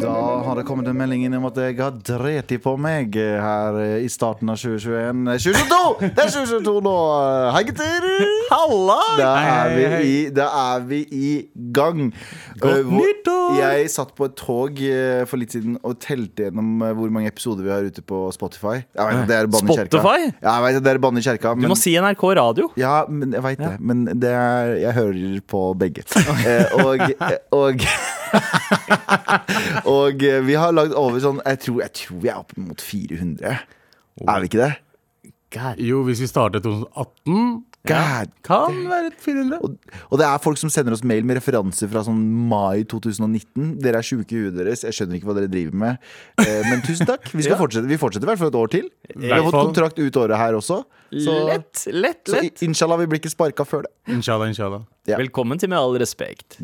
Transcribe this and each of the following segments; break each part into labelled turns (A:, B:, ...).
A: Da har det kommet en melding inn om at jeg har dreti på meg her i starten av 2021. Nei, 2022! Det er 2022 nå! Hei, gutter! Halla! Da er vi i, da er vi i gang. Eh, hvor-
B: nyttår!
A: Jeg satt på et tog eh, for litt siden og telte gjennom eh, hvor mange episoder vi har ute på Spotify. Jeg vet, at det er banne i kjerka.
B: Spotify?
A: Ja, Jeg vet, at det er banne i kjerka
B: Du
A: men-
B: må si NRK Radio.
A: Ja, men jeg veit det. Men det er, jeg hører på begge. Eh, og og, og eh, vi har lagd over sånn jeg tror, jeg tror vi er oppe mot 400. Er vi ikke det?
C: Jo, hvis vi startet 2018
A: God.
B: Kan være et 400.
A: Og, og det er folk som sender oss mail med referanser fra sånn mai 2019. Dere er sjuke i huet deres. Jeg skjønner ikke hva dere driver med. Eh, men tusen takk. Vi, skal fortsette. vi fortsetter i hvert fall et år til. Vi har fått
C: Hvertfall.
A: kontrakt ut året her også. Så,
B: Lett, lett,
A: så i-
B: lett.
A: inshallah, vi blir ikke sparka før det.
C: Inshallah, inshallah.
A: ja.
B: Velkommen til Med all respekt.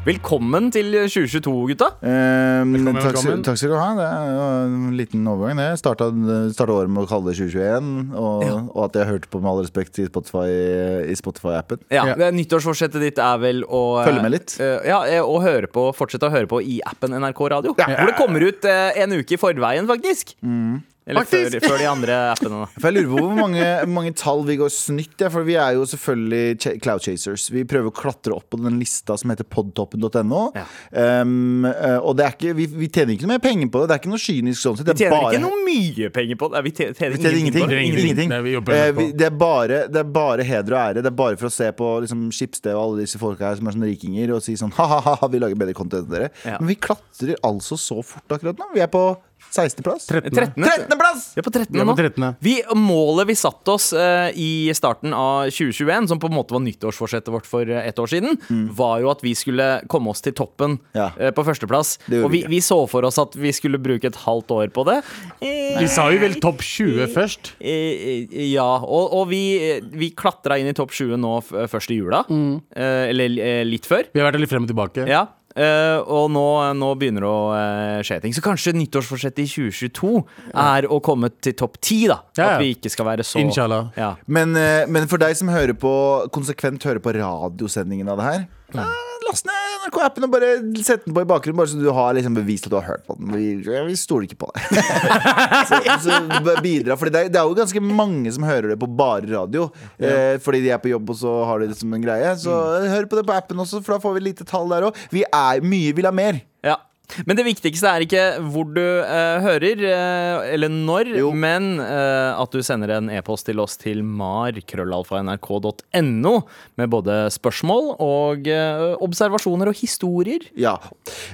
B: Velkommen til 2022, gutta.
A: Eh, men takk,
C: velkommen.
A: takk skal du ha. Det er jo en liten overgang. det. Jeg starta, starta året med å kalle det 2021, og, og at jeg hørte på Med all respekt i Spotify- i Spotify-appen.
B: Ja,
C: Ja.
B: det- Nyttårsforsettet ditt er vel å
A: Følge med litt.
B: eh, ja, eh, og høre på, fortsette å høre på i appen NRK Radio. Hvor det kommer ut eh, en uke i forveien, faktisk.
A: Mm.
B: Eller Før, før de andre appene. da.
A: For jeg lurer på hvor mange, mange tall vi går snytt i. For vi er jo selvfølgelig ch cloud chasers. Vi prøver å klatre opp på den lista som heter podtoppen.no.
B: Ja.
A: Um, eh, og det er ikke, vi, vi tjener ikke noe mer penger på det. Det er ikke noe kynisk sånn sett. Det
B: Vi
A: er
B: tjener
A: bare-
B: ikke noe mye penger på det. Nei, Vi tjener, tjener,
A: Vi tjener ingenting.
B: på det.
C: Ingenting.
A: Ingenting.
C: Det vi jobber
A: Eh,
C: med
A: vi-
C: på.
A: Det er bare- det er bare heder og ære. Det er bare for å se på liksom, Schibsted og alle disse folka her som er sånne rikinger og si sånn ha-ha-ha, vi lager bedre content enn dere.
B: Ja.
A: Men vi klatrer altså så fort akkurat nå. Vi er på 16.-plass.
C: 13.
B: 13.
A: plass!
B: Vi er på 13.
C: Vi er
B: nå.
C: på 13.
B: Vi, målet vi satte oss eh, i starten av 2021, som på en måte var nyttårsforsettet vårt for eh, ett år siden, var jo at vi skulle komme oss til toppen
A: Ja.
B: eh, på førsteplass.
A: Det gjorde
B: Og vi,
A: vi ikke.
B: vi så for oss at vi skulle bruke et halvt år på det.
C: Vi sa jo vel topp 20 først.
B: Eh, eh, Ja, og, og vi, eh, vi klatra inn i topp 20 nå f- først i jula. Eh, eller eh, litt før.
C: Vi har vært litt frem og tilbake.
B: Ja, eh, og nå, nå begynner det å eh, skje ting. Så kanskje nyttårsforsettet i 2022 er å komme til topp ti, da.
C: Ja, ja.
B: At vi ikke skal være så
C: Inshallah.
B: Ja.
A: Men, eh, men for deg som hører på konsekvent hører på radiosendingen av det her eh, Last ned NRK-appen og bare sett den på i bakgrunnen, bare så du har liksom bevist at du har hørt på den. Vi, vi stoler ikke på deg. så, så du bør bidra, for det, er- det er jo ganske mange som hører det på bare radio. Eh, fordi de er på jobb, og så har de det som en greie. Så hør på det på appen også, for da får vi lite tall der òg. Vi er mye vil ha mer.
B: Ja. Men det viktigste er ikke hvor du eh, hører, eh, eller når,
A: Jo.
B: men eh, at du sender en e-post til oss til mar.krøllalfa.nrk.no med både spørsmål og eh, observasjoner og historier.
A: Ja.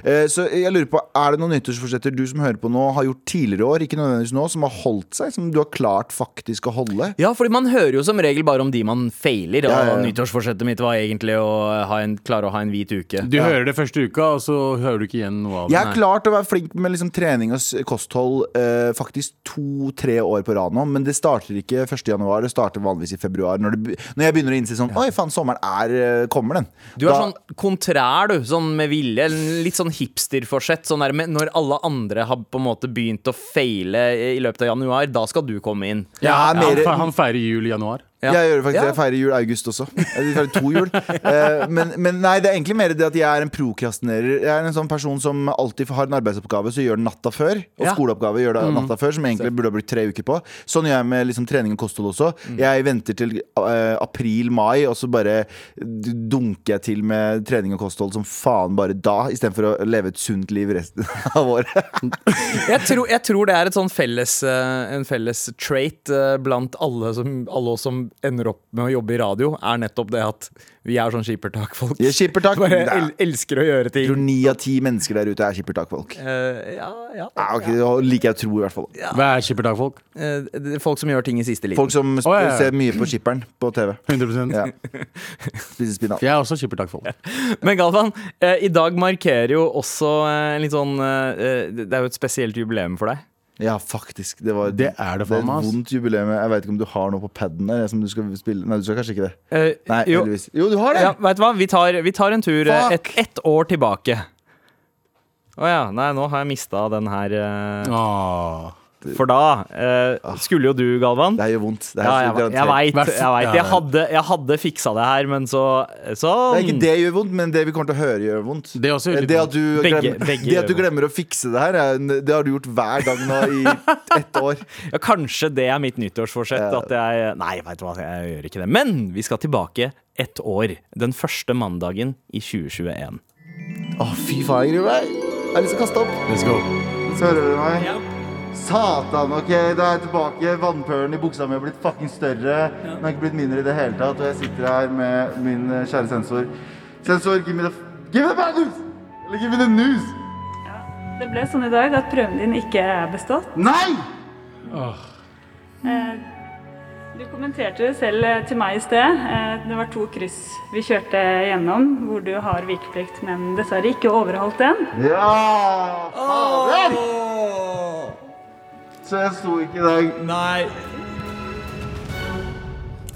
A: Eh, Så jeg lurer på, er det noen nyttårsforsetter du som hører på nå, har gjort tidligere år, ikke nødvendigvis nå, som har holdt seg? Som du har klart faktisk å holde?
B: Ja, fordi man hører jo som regel bare om de man feiler. Og
A: Ja, ja, ja.
B: nyttårsforsettet mitt var egentlig å ha en, klare å ha en hvit uke.
C: Du hører det første uka, og så hører du ikke igjen noe av
A: Jeg
C: det.
A: har klart å være flink med liksom trening og s- kosthold eh, faktisk to-tre år på rad nå, men det starter ikke 1. januar, det starter vanligvis i februar. Når, det, be- når jeg begynner å innse sånn Oi, faen, sommeren er eh, Kommer den?
B: Du er sånn kontrær, du. Sånn med vilje. en Litt sånn hipsterforsett. Sånn der, med- når alle andre har på en måte begynt å feile i løpet av januar, da skal du komme inn.
C: Ja,
A: Jeg er
C: han
A: mer-
C: fe- Han feirer jul i januar.
B: Ja.
A: Jeg gjør det faktisk,
B: Ja.
A: jeg feirer jul i august også. Jeg feirer to jul. Eh, men, men nei, det er egentlig mer det at jeg er en prokrastinerer. Jeg er en sånn person som alltid har en arbeidsoppgave, så gjør den natta før. Og
B: Ja. Mm.
A: skoleoppgave gjør det natta før, som egentlig burde ha blitt tre uker på. Sånn gjør jeg med liksom, trening og kosthold også.
B: Mm.
A: Jeg venter til april-mai, og så bare dunker jeg til med trening og kosthold som faen bare da, istedenfor å leve et sunt liv resten av året.
B: Jeg tror, jeg tror det er et sånn felles, eh, en felles trait eh, blant alle, som, alle oss som ender opp med å jobbe i radio, er nettopp det at vi er sånn skippertak-folk.
A: Jeg er skippertak.
B: Bare
A: Nei.
B: el elsker å gjøre
A: Jeg tror
B: ting.
A: ni av ti mennesker der ute er skippertakfolk.
B: Eh, ja, ja.
A: Ja, Ah, ok, det liker jeg å tro, i hvert fall.
C: Hva er skippertakfolk?
B: Eh, det er folk som gjør ting i siste liten.
A: Folk som sp-
C: Å, ja, ja.
A: ser mye på skipperen på TV.
C: 100
A: Ja. Spiser spinat.
C: Jeg er også skippertakfolk.
B: Men Galvan, eh, i dag markerer jo også eh, en litt sånn eh, Det er jo et spesielt jubileum for deg.
A: Ja, faktisk. Det, var,
C: Det er
A: det er
C: det for
A: et
C: meg, ass.
A: vondt jubileum. Jeg vet ikke om du har noe på paden der som du skal spille Nei, du skal kanskje ikke det.
B: Eh,
A: Nei,
B: jo,
A: heldigvis. Jo, du har det!
B: ja, vet du hva? Vi tar, vi tar en tur eh,
A: Fuck.
B: et, ett år tilbake. Å ja. Nei, nå har jeg mista den her. eh,
C: Ah.
B: For da eh, skulle jo du, Galvan.
A: Det her gjør vondt. Det her
B: Ja, jeg,
A: gjør
B: jeg, jeg
A: garantert-
B: veit. Jeg, vet. jeg,
C: Ja.
B: hadde, jeg hadde fiksa det her, men så
A: Det er ikke
B: Sånn.
A: det gjør vondt, men det vi kommer til å høre, gjør vondt. Eh,
C: Det er også gjør litt
A: det at du,
B: Begge-
A: glemmer,
B: begge
A: det at du
B: gjør
A: glemmer å fikse det her, er- det har du gjort hver gang nå i ett år.
B: Ja, kanskje det er mitt nyttårsforsett. At jeg, nei, vet du hva, jeg gjør ikke det. Men vi skal tilbake ett år. Den første mandagen i 2021.
A: Å, fy faen, jeg gruer meg. Jeg har lyst til å kaste opp.
C: Let's go.
A: Så hører du meg? Satan, ok, da er jeg tilbake. Vannpølen i buksa mi har blitt fucking større. Den har ikke blitt mindre i det hele tatt. Og jeg sitter her med min eh, kjære sensor. Sensor, give me the, f- give me the bad news! Eller give me the news!
D: Det ble sånn i dag at prøven din ikke er bestått.
A: Nei!
D: Eh, Du kommenterte det selv eh, til meg i sted. Eh, Det var to kryss vi kjørte gjennom hvor du har vikeplikt, men dessverre ikke overholdt den.
A: Ja! Fader! Så jeg sto ikke i dag.
B: Nei.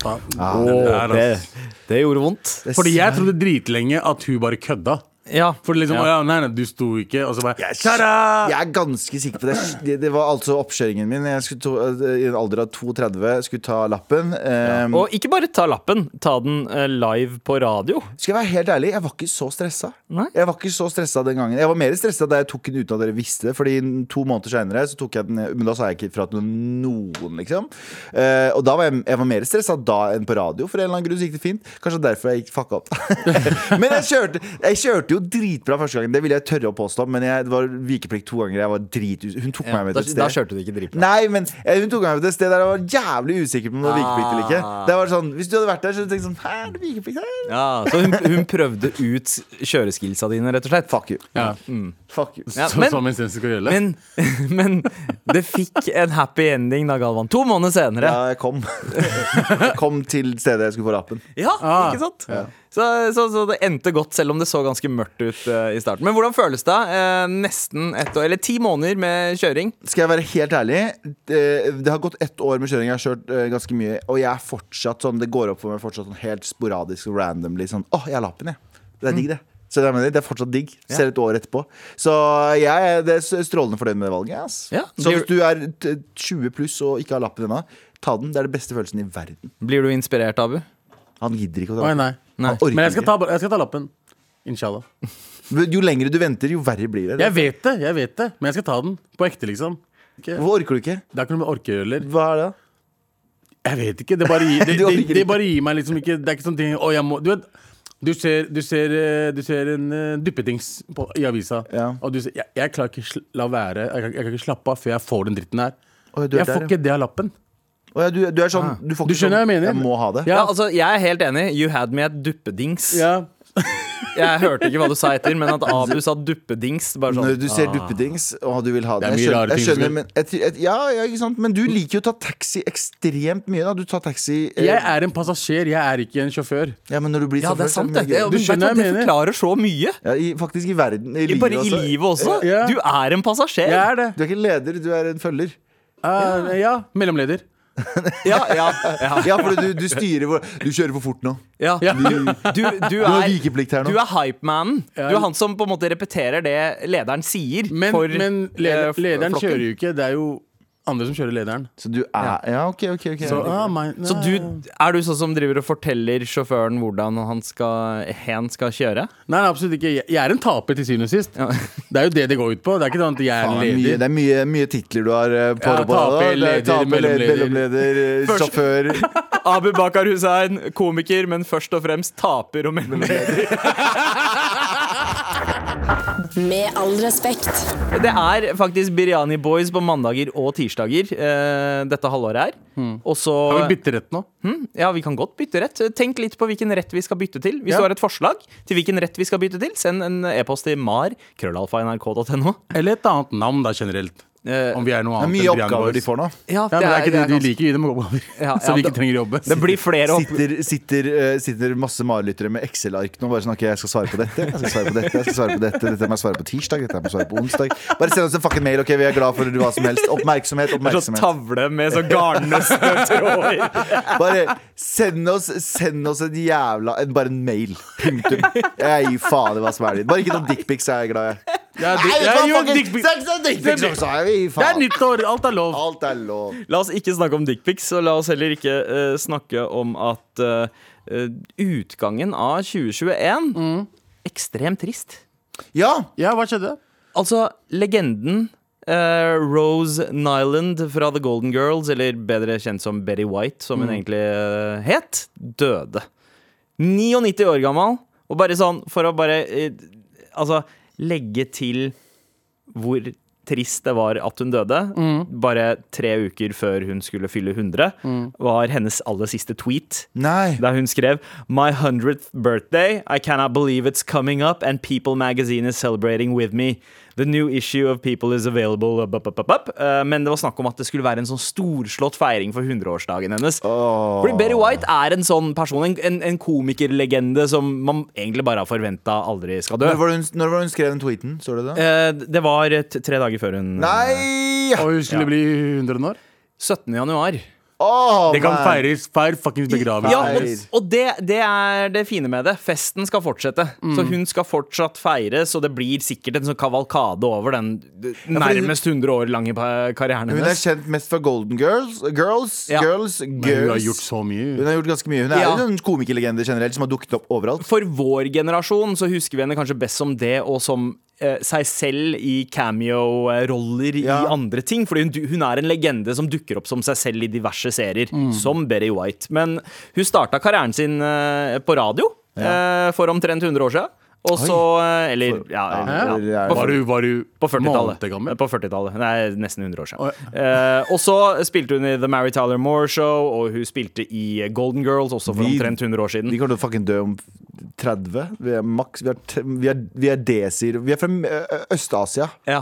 C: Ah. Åh,
B: det,
A: altså-
B: det gjorde vondt.
C: Fordi jeg trodde dritlenge at hun bare kødda.
B: Ja.
C: For liksom,
B: Ja.
C: «Å ja. nei, nei, du sto ikke, og så bare Tada!
A: Jeg er ganske sikker på det. Det, det var altså oppkjøringen min. Jeg skulle to, eh, I en alder av 32 skulle ta lappen. Ehm,
B: Og ikke bare ta lappen, ta den eh, live på radio.
A: skal jeg være helt ærlig, jeg var ikke så stressa.
B: Nei.
A: Jeg var ikke så stressa den gangen. Jeg var mer stressa da jeg tok den uten at dere visste det. Fordi to måneder seinere så tok jeg den Men da sa jeg ikke fra til noen, liksom. Eh, og da var jeg, jeg var mer stressa da enn på radio, for en eller annen grunn så gikk det fint. Kanskje derfor jeg gikk fucka opp. men jeg kjørte, jeg kjørte jo dritbra første gangen, det vil jeg tørre å påstå, men jeg, det var vikeplikt to ganger. Jeg var drit, hun tok meg med
B: Da,
A: til et sted.
B: da kjørte du ikke dritbra.
A: Nei, men eh, hun tok meg med til et sted der jeg var jævlig usikker på om det var vikeplikt eller ikke.
B: Ah.
A: Det var sånn, Hvis du hadde vært der, så hadde du tenkt sånn Hæ, er det vikeplikt her?
B: Ja, så hun, hun prøvde ut kjøreskillsa dine, rett og slett.
A: Fuck you.
C: Ja. mm.
A: Fuck you.
B: Ja,
C: Så,
B: men-
C: som en sens skal gjøre.
B: Men, men det fikk en happy ending da, Galvan. To måneder senere.
A: Ja, jeg kom. jeg kom til stedet jeg skulle få lappen.
B: Ja,
C: Ah,
B: ikke sant? Så, så, så det endte godt, selv om det så ganske mørkt ut eh, i starten. Men hvordan føles det? eh, nesten ett år, eller ti måneder med kjøring.
A: Skal jeg være helt ærlig, det, det har gått ett år med kjøring. Jeg har kjørt eh, ganske mye, og jeg er fortsatt sånn, det går opp for meg fortsatt sånn helt sporadisk og randomly sånn Å, jeg har lappen, jeg. Det er
C: Mm.
A: digg, det. Så det, mener, jeg, det er fortsatt digg. Ser et år etterpå. Så jeg er det er strålende fornøyd med det valget. Ass.
B: Ja,
A: Så
B: blir-
A: hvis du er t- 20 pluss og ikke har lappen ennå, ta den. Det er den beste følelsen i verden.
B: Blir du inspirert, Abu?
A: Han gidder ikke å ta
C: Oi,
A: den.
C: nei.
B: Nei.
A: Han orker
C: Men jeg skal
A: ikke.
C: ta, jeg skal ta lappen. Inshallah.
A: Men Jo lengre du venter, jo verre blir det.
C: Jeg vet det, jeg vet det men jeg skal ta den. På ekte, liksom. Ikke-
A: Hvorfor orker du ikke?
C: Det er ikke noe med orke å gjøre, eller.
A: Hva er det? da?
C: Jeg vet ikke. Det bare gir, det,
A: Du orker
C: det, det
A: ikke.
C: bare gir meg liksom ikke Det er ikke sånn ting Å, jeg må Du vet, du ser, du ser, eh, du ser en eh, duppetings på, i avisa,
A: Ja.
C: og du sier jeg, jeg klarer ikke sl la være. Jeg, kan- jeg kan ikke slappe av før jeg får den dritten her.
A: Oi, du er
C: Jeg
A: der,
C: får
A: ja.
C: ikke det av lappen.
A: Å ja, du, du er sånn Du, får
C: Du
A: ikke
C: skjønner
A: sånn,
C: hva jeg mener?
A: må ha det.
B: Ja,
C: Ja.
B: altså, Jeg er helt enig. You had me at duppedings.
C: Ja.
B: Jeg hørte ikke hva du sa etter, men at Abu sa duppedings. Bare sånn.
A: Når du ser duppedings og du vil ha Ah. det.
C: Det er
A: Jeg
C: mye
A: skjønner,
C: rare
A: jeg
C: ting som
A: skjønner
C: vil-
A: men, jeg, tror- jeg, ja, ja, ikke sant? men du liker jo å ta taxi ekstremt mye. da Du tar taxi eh,
C: Jeg er en passasjer, jeg er ikke en sjåfør.
A: ja, men når du blir
B: Ja, det er sant, det.
A: Ja,
B: Du skjønner det
C: mener.
B: forklarer så mye.
A: ja, i, faktisk i verden. I livet,
B: Bare i
A: også.
B: livet også.
C: Ja.
B: Du er en passasjer.
C: Jeg er det.
A: Du er ikke leder, du er en følger.
C: Eh, ja. Mellomleder.
B: Ja, ja, ja.
A: Ja, for du, du styrer hvor Du kjører for fort nå.
B: Ja. Du, du, du
A: Du har
B: er
A: vikeplikt her nå.
B: Du er hypemanen.
C: Ja.
B: Du er han som på en måte repeterer det lederen sier.
C: Men,
B: for,
C: men leder,
B: eh, f-
C: lederen
B: flokken.
C: kjører jo ikke. Det er jo andre som kjører lederen.
A: Så du er Ja, OK, OK. ok
C: Så, ah, my,
B: Så du, er du sånn som driver og forteller sjåføren hvordan han skal, hen skal kjøre?
C: Nei, nei, absolutt ikke. Jeg jeg er en taper til syvende og sist.
B: Ja.
C: Det er jo det det går ut på. Det er ikke sånn at jeg
A: Faen,
C: er
A: mye,
C: leder.
A: det er mye, mye titler du har eh, på
C: Ja,
A: deg på deg da.
C: taper,
A: Det er
C: leder,
A: Taper,
C: mellomleder.
A: mellomleder, eh,
B: Først-
A: sjåfør.
B: Abu Bakar Hussein, komiker, men først og fremst taper og mellomleder.
E: Med all respekt.
B: Det er faktisk Biryani Boys på mandager og tirsdager eh, dette halvåret her. Og så Hmm?
C: Kan vi bytte rett nå?
B: Ja, vi kan godt bytte rett. Tenk litt på hvilken rett vi skal bytte til. Hvis
C: Ja.
B: du har et forslag til hvilken rett vi skal bytte til, send en e-post til mar. Krøllalfa nrk.no.
C: Eller et annet navn, da, generelt.
B: Eh,
C: Om vi er
A: Det er
C: noe
A: mye
C: annet enn Brian
A: oppgaver de
C: Boys.
A: får nå.
B: Ja,
C: Ja, men det er ikke det,
B: ganske-
C: de liker. Vi gir dem oppgaver
B: Ja,
C: som
B: ja,
C: vi ikke
B: det-
C: trenger å jobbe.
B: Det blir flere opp...
A: sitter, sitter, eh, sitter masse marelyttere med Excel-ark nå og bare sånn Ok, jeg skal svare på dette, jeg skal svare på dette, jeg skal svare på dette, dette må jeg svare på tirsdag, dette må jeg svare på onsdag. Bare send oss en fucking mail, ok, vi er glad for hva som helst. Oppmerksomhet,
B: Sånn
A: oppmerksomhet.
B: tavle med sånn garnnøstne tråder.
A: Bare send oss, send oss en jævla en, Bare en mail. Punktum. Jeg gir faen i hva som er din. Bare ikke noen dickpics, er jeg glad i.
C: Jeg,
A: Nei, vet du hva,
C: jeg gjør
A: fucking-
C: dickpic.
A: Sex er dickpics også, jeg vil gi
C: Det er
A: faen.
C: nyttår, alt er lov.
A: Alt er lov.
B: La oss ikke snakke om dickpics, og la oss heller ikke eh, snakke om at eh, eh, utgangen av 2021
C: Mm.
B: Ekstremt trist.
A: Ja,
C: Ja, hva skjedde?
B: Altså, legenden eh, Rose Nyland fra The Golden Girls, eller bedre kjent som Betty White, som hun egentlig eh, het, døde. 99 år gammel. Og bare sånn, for å bare eh, Altså, legge til hvor trist det var at hun døde, bare tre uker før hun skulle fylle 100, var hennes aller siste tweet.
A: nei
B: Der hun skrev My 100th birthday, I cannot believe it's coming up And People magazine is celebrating with me The new issue of People is available up, up, up, up, up. Eh, Men det var snakk om at det skulle være en sånn storslått feiring For 100-årsdagen hennes Fordi Betty White er en sånn person En, en, en komikerlegende som man egentlig bare har forventet aldri skal dø
A: Når var det hun, når var det hun skrev den tweeten? Så du det?
B: Eh, Det var et- tre dager før hun
A: Nei!
C: Og hun skulle bli 100 år?
B: 17. januar
A: Åh,
C: Det kan
A: man.
C: feires. Feir fuckings begravelse.
B: Ja, og, og det, det er det fine med det. Festen skal fortsette. Så
A: Mm.
B: hun skal fortsatt feires, og det blir sikkert en sånn kavalkade over den nærmest 100 år lange pa- karrieren
A: Hun er
B: hennes.
A: kjent mest for Golden Girls. Girls,
B: Ja.
A: girls,
C: Men hun har
A: girls.
C: gjort så
A: Hun
C: mye.
A: har gjort ganske mye. Hun er
B: Ja.
A: jo en komikerlegende generelt som har dukket opp overalt.
B: For vår generasjon så husker vi henne kanskje best som det, og som eh, seg selv i cameo-roller i
A: Ja.
B: andre ting. Fordi hun, du- hun er en legende som dukker opp som seg selv i diverse serier,
A: Mm.
B: som Berry White. Men hun starta karrieren sin eh, på radio eh, for omtrent 100 år siden. Og så eh, Eller, ja,
A: Ja.
B: ja.
A: Ja.
C: Var du, var du
B: På 40-tallet.
C: måned gammel?
B: På 40-tallet. Nei, nesten 100 år siden.
C: Å,
B: Eh, og så spilte hun i The Mary Tyler Moore Show, og hun spilte i Golden Girls også for
A: Vi-
B: omtrent 100 år siden.
A: Vi kommer til å fucking dø om 30. Vi er maks. Vi er, t- vi er, vi er desir. Vi er fra ø, ø, Øst-Asia.
B: Ja.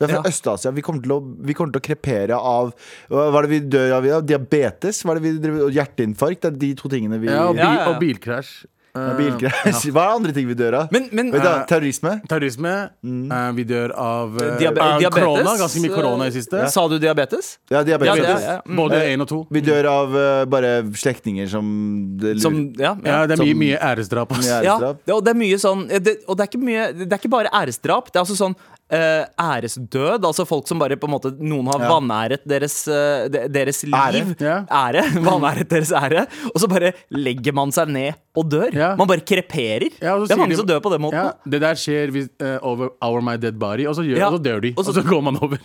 A: Vi er fra
B: Ja.
A: Øst-Asia. Vi kommer, til å, vi kommer til å krepere av Hva hva er det vi dør av? av? Diabetes? Hva er det vi driver, og hjerteinfarkt? Det er de to tingene vi
C: Ja, og, bil,
B: Ja, ja, ja.
C: og bilkrasj. Eh,
A: Bilkrasj. Hva er andre ting vi dør av?
B: Men, men
A: Vet du, terrorisme?
C: Terrorisme. eh, vi dør av eh,
B: Diabe-
C: eh,
B: diabetes?
C: korona. Ganske mye korona i siste.
B: Sa du diabetes?
A: Ja, diabetes.
B: Ja, det
C: Diabetes.
B: er- ja, mm.
C: Både én og to.
A: Vi dør av ø, bare slektninger som det lurer-
B: Som Ja.
C: Ja,
B: ja.
C: det er
A: Som-
C: mye, mye æresdrap. ass.
A: Ja.
B: ja.
A: æresdrap.
B: Det, og det er mye sånn det, Og det er ikke mye Det er ikke bare æresdrap. Det er også sånn eh, æresdød. Altså folk som bare på en måte Noen har vanæret deres, eh, de- deres liv.
A: Ære.
C: Ja.
B: ære. Vanæret deres ære. Og så bare legger man seg ned og dør.
C: Ja.
B: Man bare kreperer.
C: Ja, og så
B: det er
C: sier
B: mange
C: de-
B: som dør på den måten.
C: Ja, det der skjer hvis, eh, over, over my dead body, og så, gjør,
B: Ja.
C: og så dør de.
B: Og
C: Og
B: så-
C: så, går man over.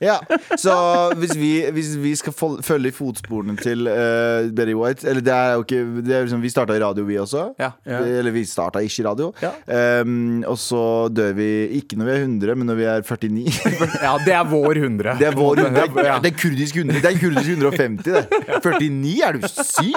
A: Ja, så hvis vi, hvis vi skal fol- følge i fotsporene til uh, Betty White Eller det er jo ikke det er liksom, Vi starta i radio, vi også.
B: Ja.
C: Ja.
A: Eller vi starta ikke i radio.
B: Ja.
A: Ehm, og så dør vi ikke når vi er 100, men når vi er 49.
B: Ja, det er vår hundre.
A: Det er vår det er, det er kurdisk 100. Det er kurdisk 150, det. 49? Er du syk?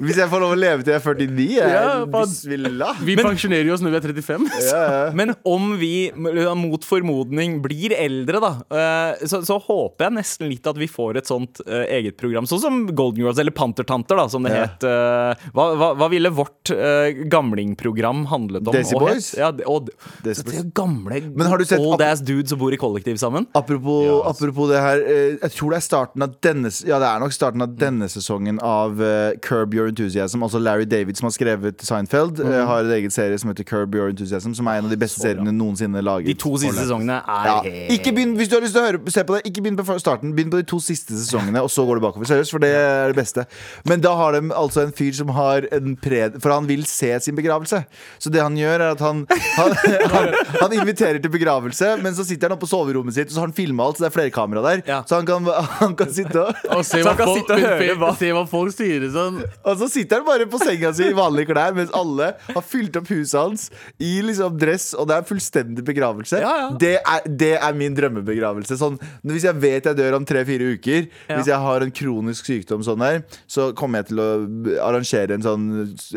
A: Hvis jeg får lov å leve til jeg er 49? Jeg,
C: Ja, faen.
A: bismillah.
C: Vi pensjonerer jo oss når vi er 35.
A: Ja, ja.
B: Men om vi mot formodning blir eldre, da, eh, så, så håper jeg nesten litt at vi får et sånt eh, eget program. Sånn som Golden Girls, eller Pantertanter, da, som det
A: Ja.
B: het. eh, Hva, hva, hva ville vårt eh, gamlingprogram handlet om?
A: Desi
B: og het?
A: Boys?
B: Ja, det- og,
A: Desi
B: det er jo
A: Boys.
B: gamle
A: Men har du sett
B: old
A: at-
B: ass dudes som bor i kollektiv sammen.
A: Apropos,
B: altså.
A: apropos det her eh, Jeg tror det er starten av denne Ja, det er nok starten
B: Mm.
A: av denne sesongen av eh, Curb Your Enthusiasm. Altså Larry David, som har skrevet Seinfeld, eh,
B: Mm.
A: har en egen serie som heter Curb Your Enthusiasm, som er en av de beste seriene noensinne laget.
B: De to siste sesongene er
A: ja.
B: helt
A: ikke begynn, Hvis du har lyst til å høre, se på det, ikke begynn på starten. Begynn på de to siste sesongene, og så går du bakover. Seriøst, for det er det beste. Men da har de altså en fyr som har en pred... For han vil se sin begravelse. Så det han gjør, er at han Han, han, han inviterer til begravelse, men så sitter han oppe på soverommet sitt, og så har han filma alt, så det er flere kamera der.
B: Ja.
A: Så han kan, han kan sitte og
C: Og se
B: Så
C: hva,
B: han kan
C: folk,
B: sitte og høre
C: se-
B: hva-
C: se hva folk sier. det Sånn.
A: Og så sitter han bare på senga si i vanlige klær, mens alle har fylt opp huset hans i liksom dress, og det er fullstendig begravelse.
B: Ja, ja.
A: Det, er, det er min drømmebegravelse. Sånn, hvis jeg vet jeg dør om tre-fire uker,
B: Ja.
A: hvis jeg har en kronisk sykdom sånn her, så kommer jeg til å arrangere en sånn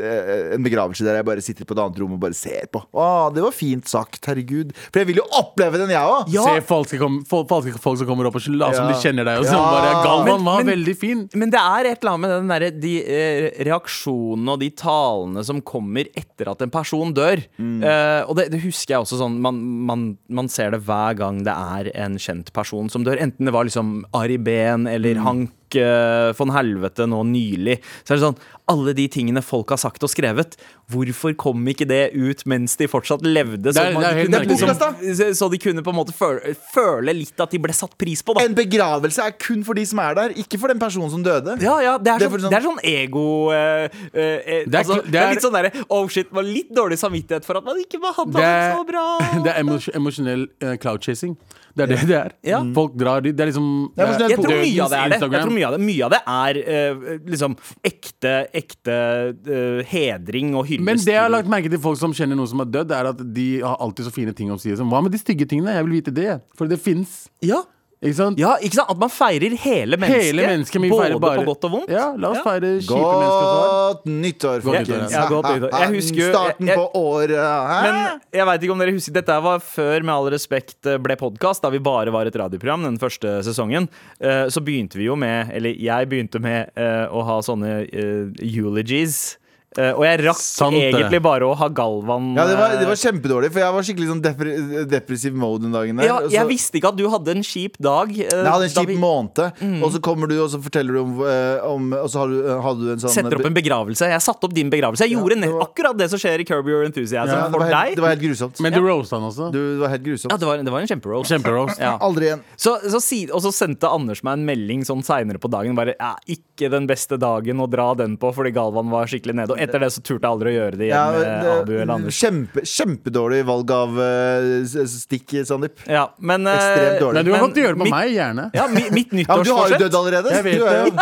A: eh, En begravelse der jeg bare sitter på et annet rom og bare ser på. Å, det var fint sagt, herregud. For jeg vil jo oppleve den, jeg òg.
B: Ja.
C: Se falske, kom, fol- falske folk som kommer opp og later som
A: Ja.
C: de kjenner deg. Og
A: Ja.
C: sånn, bare, Galvan
B: Men-
C: var
B: men-
C: veldig fin.
B: Men det er et eller annet med den derre- de eh, reaksjonene og de talene som kommer etter at en person dør.
C: Mm.
B: Eh, og det, det husker jeg også sånn man, man, man
C: Mm.
B: ser det hver gang det er en kjent person som dør. Enten det var liksom Ari Behn eller Hank Henrik eh, von Helvete nå nylig. Så er det sånn Alle de tingene folk har sagt og skrevet, hvorfor kom ikke det ut mens de fortsatt levde?
C: Det er-
B: Så, man
C: det er helt
B: kunne,
C: merkelig.
B: liksom, så de kunne på en måte føle, føle litt at de ble satt pris på, da.
A: En begravelse er kun for de som er der, ikke for den personen som døde.
B: Ja, ja, det er,
A: Det er
B: sånn,
A: for sånn-
B: det er sånn ego eh, eh,
C: Det er
B: altså,
C: kl-
B: det,
C: det
B: er,
C: er-
B: litt sånn derre Oh shit, var litt dårlig samvittighet for at man ikke behandla
C: Det
B: det
C: er-
B: så bra.
C: Det er emos- emosjonell eh, cloud-chasing. Det er det det er.
B: Ja.
C: Folk drar dit. Det er liksom
A: Det er emosjonell
B: jeg tror mye av det er det. Jeg tror
C: Instagram.
B: mye av det, mye av det er eh, liksom ekte, ekte eh, hedring og hyllest.
C: Men det jeg har
B: til-
C: lagt merke til folk som kjenner noen som har dødd, er at de har alltid så fine ting å si. Som, Hva med de stygge tingene? Jeg vil vite det. For det fins.
B: ja.
C: Ikke sant?
B: ja, ikke sant? At man feirer hele mennesket.
C: Hele mennesket. men vi
B: både
C: feirer bare-
B: på godt og vondt.
C: Ja, la oss
B: Ja.
C: feire kjipe mennesker.
A: Godt nyttår,
C: Godt
A: folkens.
C: nyttår,
B: ja. Ja, godt nyttår. Jeg husker jo-
A: Starten
B: jeg-
A: på året. hæ?
B: Men jeg vet ikke om dere husker Dette var før Med all respekt eh, ble podkast, da vi bare var et radioprogram den første sesongen. Eh, Så begynte vi jo med Eller jeg begynte med eh, å ha sånne eh, eulogies. Eh, Og jeg rakk
C: Sant det.
B: egentlig bare å ha Galvan
A: ja, det var, det
B: eh,
A: var kjempedårlig, for jeg var skikkelig sånn depre depressiv mode den dagen. der,
B: ja,
A: og så-
B: jeg visste ikke at du hadde en kjip dag. eh,
A: altså. Jeg hadde en
B: da
A: kjip
B: vi Mm.
A: måned, og så kommer du og så forteller du om, eh, om Og så hadde du, hadde du en sånn
B: Setter opp en begravelse. Jeg satte opp din begravelse. Jeg gjorde nett, akkurat det som skjer i Curb Your Enthusiasm
A: Ja, det,
B: for
A: var helt,
B: deg.
A: det var helt grusomt.
C: Men du roasta han også.
A: du, det var helt grusomt.
B: Ja, det var, det var en kjemperoast.
C: Kjemperoast.
B: Ja.
A: Aldri igjen.
B: Så, så si, og så sendte Anders meg en melding sånn seinere på dagen. Bare, ja, 'Ikke den beste dagen å dra den på', fordi Galvan var skikkelig nede. Og etter det så turte jeg aldri å gjøre det
A: Ja,
B: igjen med Abu
A: det,
B: eller Anders.
A: kjempe, kjempedårlig valg av eh, s- s- stikk, Sandeep.
B: Ja, men, eh,
A: Ekstremt dårlig.
C: Nei, du kan
B: men
C: godt gjøre det på
B: mitt-
C: meg, gjerne.
B: Ja, mi- mitt
A: Ja, men du har jo dødd
B: nyttårsforsett
A: allerede.
C: Jeg vet
A: du er jo-
C: det.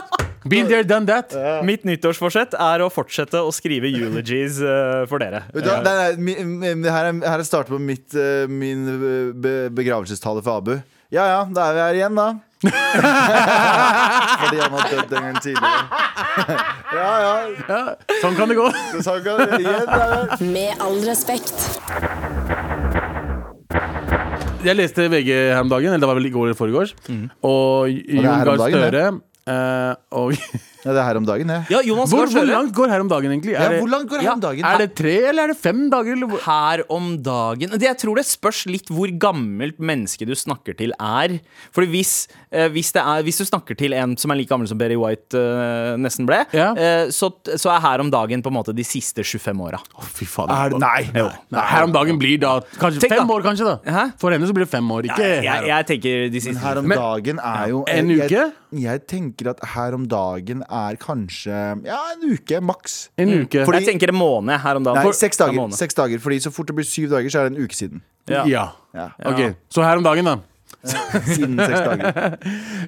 C: Been there, done that.
B: Mitt nyttårsforsett er å fortsette å skrive eulogies eh, for dere.
A: Vet du hva, det er- mi- mi- Her er, her er starten på mitt, eh, min eh, be, begravelsestale for Abu. Ja ja, da er vi her igjen, da. Fordi han har dødd en gang tidligere. ja ja.
C: Sånn kan det gå.
A: Så kan vi igjen, da.
F: Med all respekt.
C: Jeg leste VG her om dagen, eller det var vel i går eller foregårs, og
A: er
C: Jon
A: her om
C: Gahr
A: dagen, det.
C: Støre eh, og
A: Ja, det er her om dagen, det.
B: Ja, Jonas
C: hvor,
B: Gahr
C: hvor
B: Støre.
C: langt går her om dagen, egentlig? Er,
A: Ja,
C: det-
A: hvor langt går det her om dagen?
C: er det tre, eller er det fem dager? Eller? hvor-
B: her om dagen Det- Jeg tror det spørs litt hvor gammelt menneske du snakker til er. Fordi hvis, eh, hvis, det er, hvis du snakker til en som er like gammel som Berry White eh, nesten ble,
C: Ja.
B: eh, så, så er her om dagen på en måte de siste 25 åra.
C: Å, fy faen.
A: Er det- nei.
C: Jo. nei. Her om dagen blir da kanskje
B: Tenk da.
C: fem år, kanskje. da
B: Hæ?
C: For henne så blir det fem år, ikke
B: Jeg,
C: her
B: jeg,
C: om-
B: jeg tenker de
A: Men
B: siste
A: her om
C: Men-
A: dagen er jo
C: En
A: jeg-
C: uke?
A: Jeg, jeg tenker at her om dagen er kanskje Ja, en uke maks.
C: En
B: Jeg
C: uke.
B: tenker en måned her om dagen.
A: Nei,
B: For-
A: seks
B: en
A: dager.
B: måned.
A: Seks dager Fordi så fort det blir syv dager, så er det en uke siden.
B: Ja.
C: ja.
A: Ja,
C: Ok, Så her om dagen, da.
A: Siden seks dager.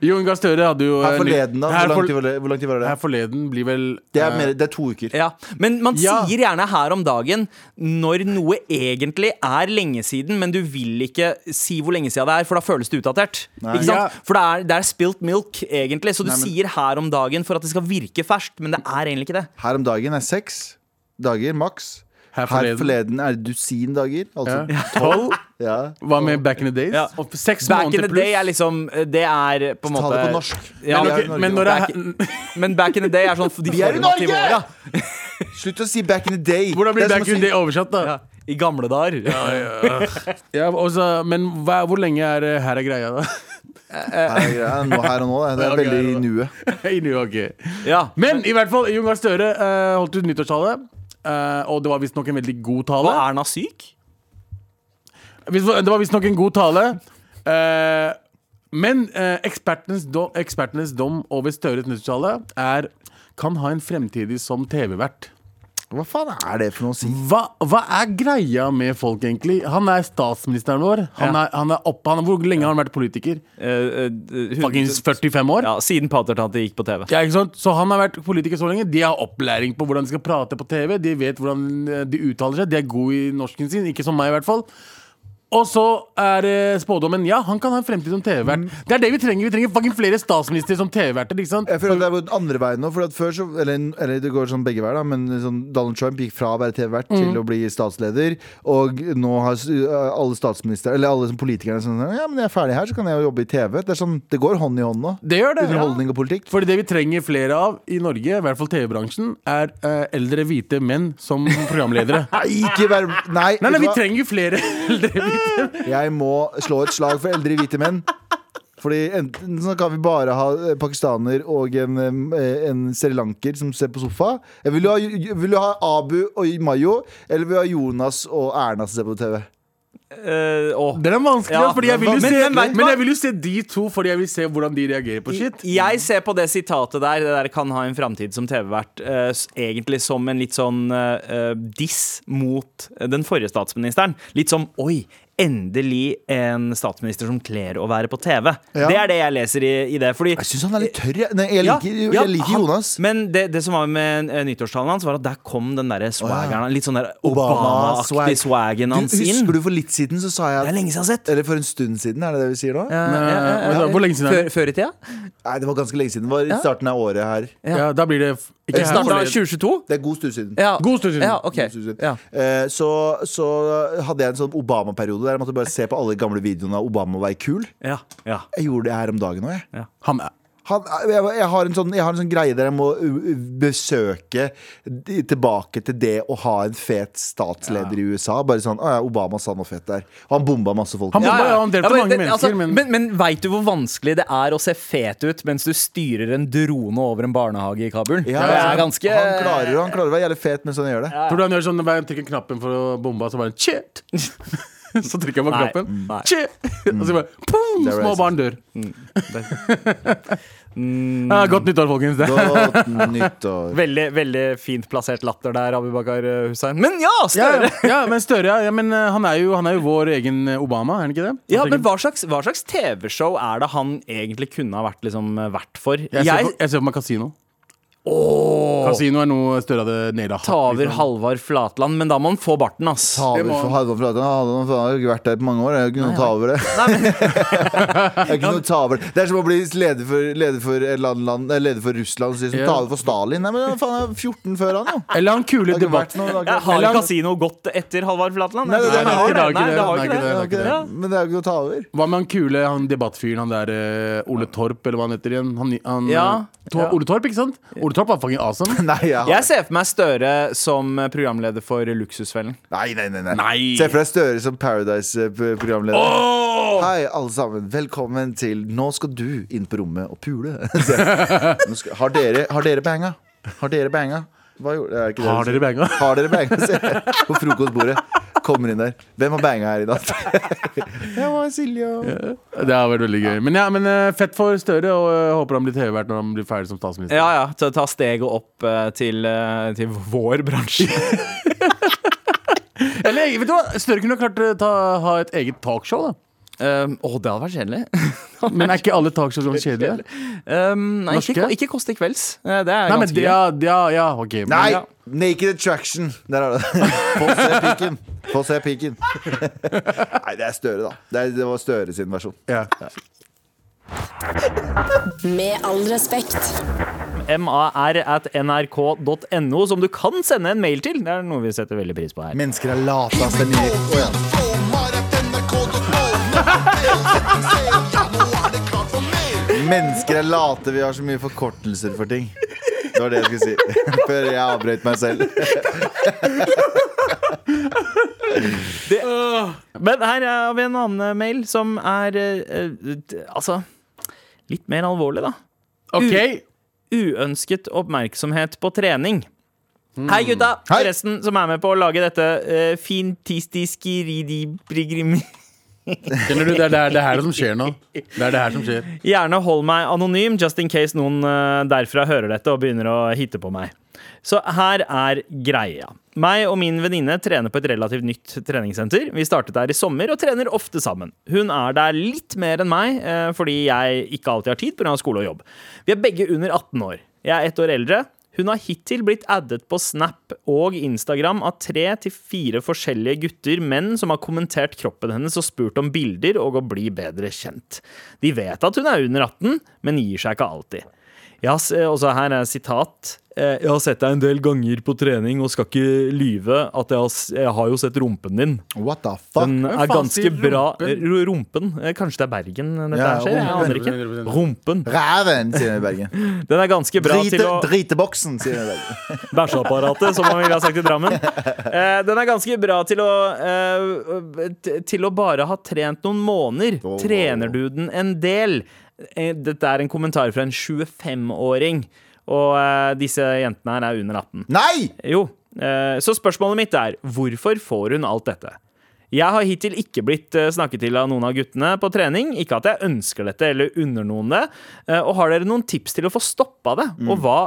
C: Jon Gahr Støre hadde jo
A: Her
C: en-
A: forleden, da.
C: Her,
A: Hvor
C: for-
A: lang tid var det? Hvor lang tid var det?
C: her forleden blir vel
A: Det er,
C: eh,
A: mer, det er to uker.
B: Ja, Men man
C: Ja.
B: sier gjerne her om dagen når noe egentlig er lenge siden, men du vil ikke si hvor lenge siden det er, for da føles det utdatert. Ikke sant?
C: Ja.
B: For det er, det er spilt milk, egentlig. Så du sier her om dagen for at det skal virke ferskt, men det er egentlig ikke det.
A: Her om dagen er seks dager maks.
C: Her
A: Her
C: forleden.
A: forleden, er det dusin dager. Altså
C: ja. Tolv?
A: ja.
C: Hva med back in the days?
B: Ja.
C: Og Seks
B: Back in
C: måneder
B: the day er
C: pluss.
B: liksom Det er på en
A: Ta
B: måte
A: det på norsk.
B: Ja,
A: Vi
C: Men,
A: er
C: ok,
A: i Norge.
C: men når
B: Back
C: det er
B: Men back in the day er sånn de
A: Vi er i
B: formative
A: Norge!
B: åra.
A: Slutt å si back in the day.
C: Hvordan blir
A: Det er som
C: back
A: å si-
C: in the oversatt, da?
B: Ja, I gamle dager.
C: Ja, og så- men hva, hvor lenge er det her er greia, da?
A: Her er greia. Nå, her og nå. det. Det er
C: Ja, ok,
A: veldig
C: her
A: i
C: og
A: nuet.
C: I New York. ok.
B: Ja.
C: Men i hvert fall, Jon Gahr Støre eh, holdt ut nyttårstale. eh, og det var visstnok en veldig god tale.
B: Var Erna syk?
C: Hvis- Det var visstnok en god tale. Eh, men eh, ekspertenes, dom, ekspertenes dom over Støres nyttårstale er kan ha en fremtidig som TV-vert.
A: Hva faen er det for noe å si?
C: Hva, hva er greia med folk, egentlig? Han er statsministeren vår. Han
B: Ja.
C: er, han er opp, han, hvor lenge har han vært politiker?
B: Eh, eh, hun-
C: Fuckings 45 år?
B: ja, siden patertante gikk på TV.
C: Ja, ikke sant? Så han har vært politiker så lenge. De har opplæring på hvordan de skal prate på TV. De vet hvordan eh, de uttaler seg. De er gode i norsken sin. Ikke som meg, i hvert fall. Og så er eh, spådommen ja, han kan ha en fremtid som TV-vert. Det er det vi trenger. Vi trenger fucking flere statsministre som TV-verter. ikke sant?
A: Jeg føler at det er gått andre veien nå. For at før så, eller, eller det går sånn begge veier, da. Men sånn, Donald Trump gikk fra å være TV-vert til å bli statsleder. Og nå har s- øh, alle statsministre, eller alle som politikerne sånn Ja, men jeg er ferdig her, så kan jeg jo jobbe i TV. Det, er sånn, det går hånd i hånd nå.
C: Det gjør det. Ja.
A: Underholdning og politikk.
C: Fordi det vi trenger flere av i Norge, i hvert fall TV-bransjen, er eh, eldre hvite menn som programledere.
A: Nei, ikke vær Nei,
C: Nei,
A: vet
C: nei,
A: du
C: vi
A: hva?
C: trenger flere eldre hvite
A: jeg må slå et slag for eldre hvite menn. Fordi enten så kan vi bare ha eh, pakistaner og en, eh, en srilanker som ser på sofa. Jeg vil, jo ha, vil du ha Abu og Mayo, eller vil du ha Jonas og Erna som ser på TV?
B: Eh, å.
C: Den er vanskelig,
B: Ja,
C: ass, fordi jeg
B: men
C: vil jo
B: hva- men-
C: se,
B: men vet du
C: men
B: hva?
C: jeg vil jo se de to, fordi jeg vil se hvordan de reagerer på shit.
B: Jeg ser på det sitatet der, det der kan ha en framtid som TV-vert, eh, s- egentlig som en litt sånn eh, eh, diss mot den forrige statsministeren. Litt som oi, endelig en statsminister som kler å være på TV.
A: Ja.
B: Det er det jeg leser i, i det. Fordi
A: Jeg syns han er litt tørr. Jeg, Nei, jeg liker,
B: ja,
A: jeg liker
B: han-
A: Jonas.
B: Men det, det som var med eh, nyttårstalen hans, var at der kom den derre swaggeren, litt sånn der
A: Obama-swag.
B: Obama-aktig swaggen hans
A: du,
B: inn.
A: husker du for litt siden så sa jeg
B: Det er
A: at
B: lenge siden jeg har sett.
A: Eller for en stund siden, er det det vi sier nå?
B: Ja, ja, ja, ja.
C: Hva da, Hvor lenge siden er
B: Før,
C: det?
B: før i tida?
A: Nei, det var ganske lenge siden. Det var i starten av året her.
C: Ja, da blir det f- ikke her.
B: Starta 2022?
A: Det er god stund siden.
B: Ja.
C: God stund siden.
B: Ja, ok.
A: God stund siden.
B: Ja.
A: Eh, Så, så hadde jeg en sånn Obama-periode der jeg måtte bare se på alle gamle videoene av Obama og være kul.
B: Ja, ja.
A: Jeg gjorde det her om dagen òg, jeg.
C: Han er
A: Han, jeg, jeg, har en sånn, jeg har en sånn greie der jeg må uh, uh, besøke de- tilbake til det å ha en fet statsleder i USA. Bare sånn Å ja, Obama sa noe fett der. Og han bomba masse folk.
C: Han
A: Ja.
C: bomba- ja, han delte mange
B: det- altså,
C: mennesker, men-
B: men, men veit du hvor vanskelig det er å se fet ut mens du styrer en drone over en barnehage i Kabul?
A: Ja,
B: det
A: altså,
B: er ganske
A: han, klarer, han klarer å være jævlig fet mens han gjør det.
C: Tror du han gjør sånn når han trykker knappen for å bombe, og så bare Shit! så trykker han på
B: Nei, Mm.
C: knappen.
B: nei. Mm.
C: Shit! Og så bare pum,
A: Det er
C: Små
A: racist.
C: barn dør. Ja, godt nyttår, folkens. Det.
A: Godt nyttår.
B: Veldig, veldig fint plassert latter der, Abubakar Hussein. Men ja,
C: Ja,
B: Støre!
C: ja, ja, men Støre, ja, ja, men eh, han, er jo, han er jo vår egen eh, Obama, er han ikke det?
B: Ja,
C: Han
B: men Altså,
C: trykker-
B: hva slags, hva slags TV-show er det han egentlig kunne ha vært, liksom, vært for?
C: jeg, ser
B: Jeg
C: på, jeg ser på meg Casino. Casino er noe Støre hadde liksom. naila.
B: tar over Halvard Flatland, men da må han få barten, ass.
A: Taver for Halvor Flatland. Han hadde- han hadde ikke vært der på mange år. Jeg kunne ta over det. Jeg kunne ta over det. Det er som å bli leder for, leder for, et land, land, eh, leder for Russland og si som
C: Ja.
A: taler for Stalin. Nei, men faen, jeg er 14 før han, jo.
C: Eller han kule
A: Det har ikke vært
C: debatten.
A: noe- det har ikke
B: Ja,
A: vært-
B: har
A: Eller-
B: Casino gått etter Halvard Flatland?
A: Nei, det- det-
B: har
A: det-
C: det har ikke
B: Nei,
C: det.
B: det har
C: Nei,
B: ikke
C: det
B: det.
A: Det
C: har
A: er ikke
B: Ja.
A: det. Men det er jo ikke å ta over.
C: Hva med han kule han debattfyren, han der eh, Ole Torp, eller hva han heter igjen? Han, han,
B: Ja,
C: eh, Tor-
B: ja.
C: Ole Torp, ikke sant? Ole Torp var fucking awesome.
A: Nei, jeg har
B: Jeg ser for meg Støre som programleder for Luksusfellen.
A: Nei, nei, nei, nei.
C: Nei.
A: Se for deg Støre som Paradise-programleder.
C: Åh!
A: Hei, alle sammen. Velkommen til Nå skal du inn på rommet og pule. Se. Nå skal, har, dere, har dere banga? Har dere banga? Hva gjorde, det er ikke det
C: Har
A: du
C: dere
A: sier.
C: banga?
A: Har dere banga? Se. På frokostbordet. Kommer inn der. Hvem har banga her i natt? Jeg var Silje og
C: Det har vært veldig gøy. Men, ja, men eh, fett for Støre, og jeg håper han blir TV-vert når han blir ferdig som statsminister.
B: Ja, ja. Ta, ta steget opp eh, til, eh, til vår bransje.
C: Eller vet du hva, Støre kunne klart eh, ta, ha et eget talkshow, da.
B: Um, Å, det hadde vært kjedelig.
C: Men er ikke alle talkshow sånn kjedelige?
B: Um, nei, ikke,
C: Norske?
B: ikke Kåss til kvelds. Eh, Det er
C: Nei, men
B: ganske
C: ja, ja, ja, ok. Men,
A: Nei!
C: ja.
A: Naked Attraction. Der har du det. Få se piken. Få se piken. Nei, det er Støre, da. Det, er, det var Støre sin versjon.
C: Ja.
F: Med all respekt.
B: mar at nrk.no, som du kan sende en mail til. Det er noe vi setter veldig pris på her.
A: Mennesker er late, ass. Det er nye. Å, ja. Mennesker er late. Vi har så mye forkortelser for ting. Det var det jeg skulle si. Før jeg avbrøt meg selv.
B: Men her har vi en annen eh, mail som er eh, eh, d- Altså litt mer alvorlig, da.
C: Ok,
B: uønsket oppmerksomhet på trening. Hei, gutta!
A: Hei.
B: Forresten, som er med på å lage dette uh, fintistiskiridibrigrimi...
C: Kjenner du, det er det, er, det her som skjer nå. Det er det her som skjer.
B: Gjerne hold meg anonym, just in case noen eh, derfra hører dette og begynner å hitte på meg. Så her er greia. Meg og min venninne trener på et relativt nytt treningssenter. Vi startet der i sommer og trener ofte sammen. Hun er der litt mer enn meg, eh, fordi jeg ikke alltid har tid pga. skole og jobb. Vi er begge under 18 år. Jeg er ett år eldre. Hun har hittil blitt addet på Snap og Instagram av tre til fire forskjellige gutter, menn, som har kommentert kroppen hennes og spurt om bilder eh, og å bli bedre kjent. De vet at hun er under 18, men gir seg ikke alltid. Jeg har, se- også her er sitat. Eh, Jeg har sett deg en del ganger på trening og skal ikke lyve at jeg har, s- jeg har jo sett rumpen din.
A: What the fuck?
B: Den
C: Hvem
B: er
C: faen
B: ganske
C: sier
B: bra
C: rumpen?
B: R- Rumpen? Eh, Kanskje det er Bergen dette
A: Ja,
B: her skjer? Jeg aner ikke.
C: rumpen,
B: Rumpen.
A: Ræven, sier vi i Bergen.
B: Den er ganske bra
A: Drite,
B: til å
A: Driteboksen, sier vi i Bergen.
B: Bæsjeapparatet, som man ville ha sagt i Drammen. Eh, den er ganske bra til å eh, t- Til å bare ha trent noen måneder.
A: wow, wow.
B: Trener du den en del? Eh, Dette er en kommentar fra en 25-åring. Og eh, disse jentene her er under 18.
A: Nei!
B: Jo, eh, så spørsmålet mitt er Hvorfor får hun alt dette? Jeg har hittil ikke blitt eh, snakket til av noen av guttene på trening. Ikke at jeg ønsker dette eller unner noen det. Eh, Og har dere noen tips til å få stoppa det? Og, hva,